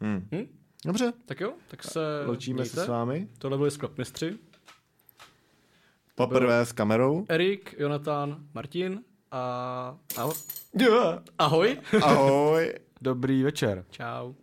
B: Hmm.
A: Hm?
B: Dobře,
A: Tak jo, tak se
B: loučíme se
A: Eh, mějte.
B: s vámi.
A: Tohle byli Sklep mistři.
B: Poprvé s kamerou.
A: Erik, Jonatán, Martin a aho-
C: Yeah.
A: ahoj.
B: Ahoj.
C: Dobrý večer.
A: Čau.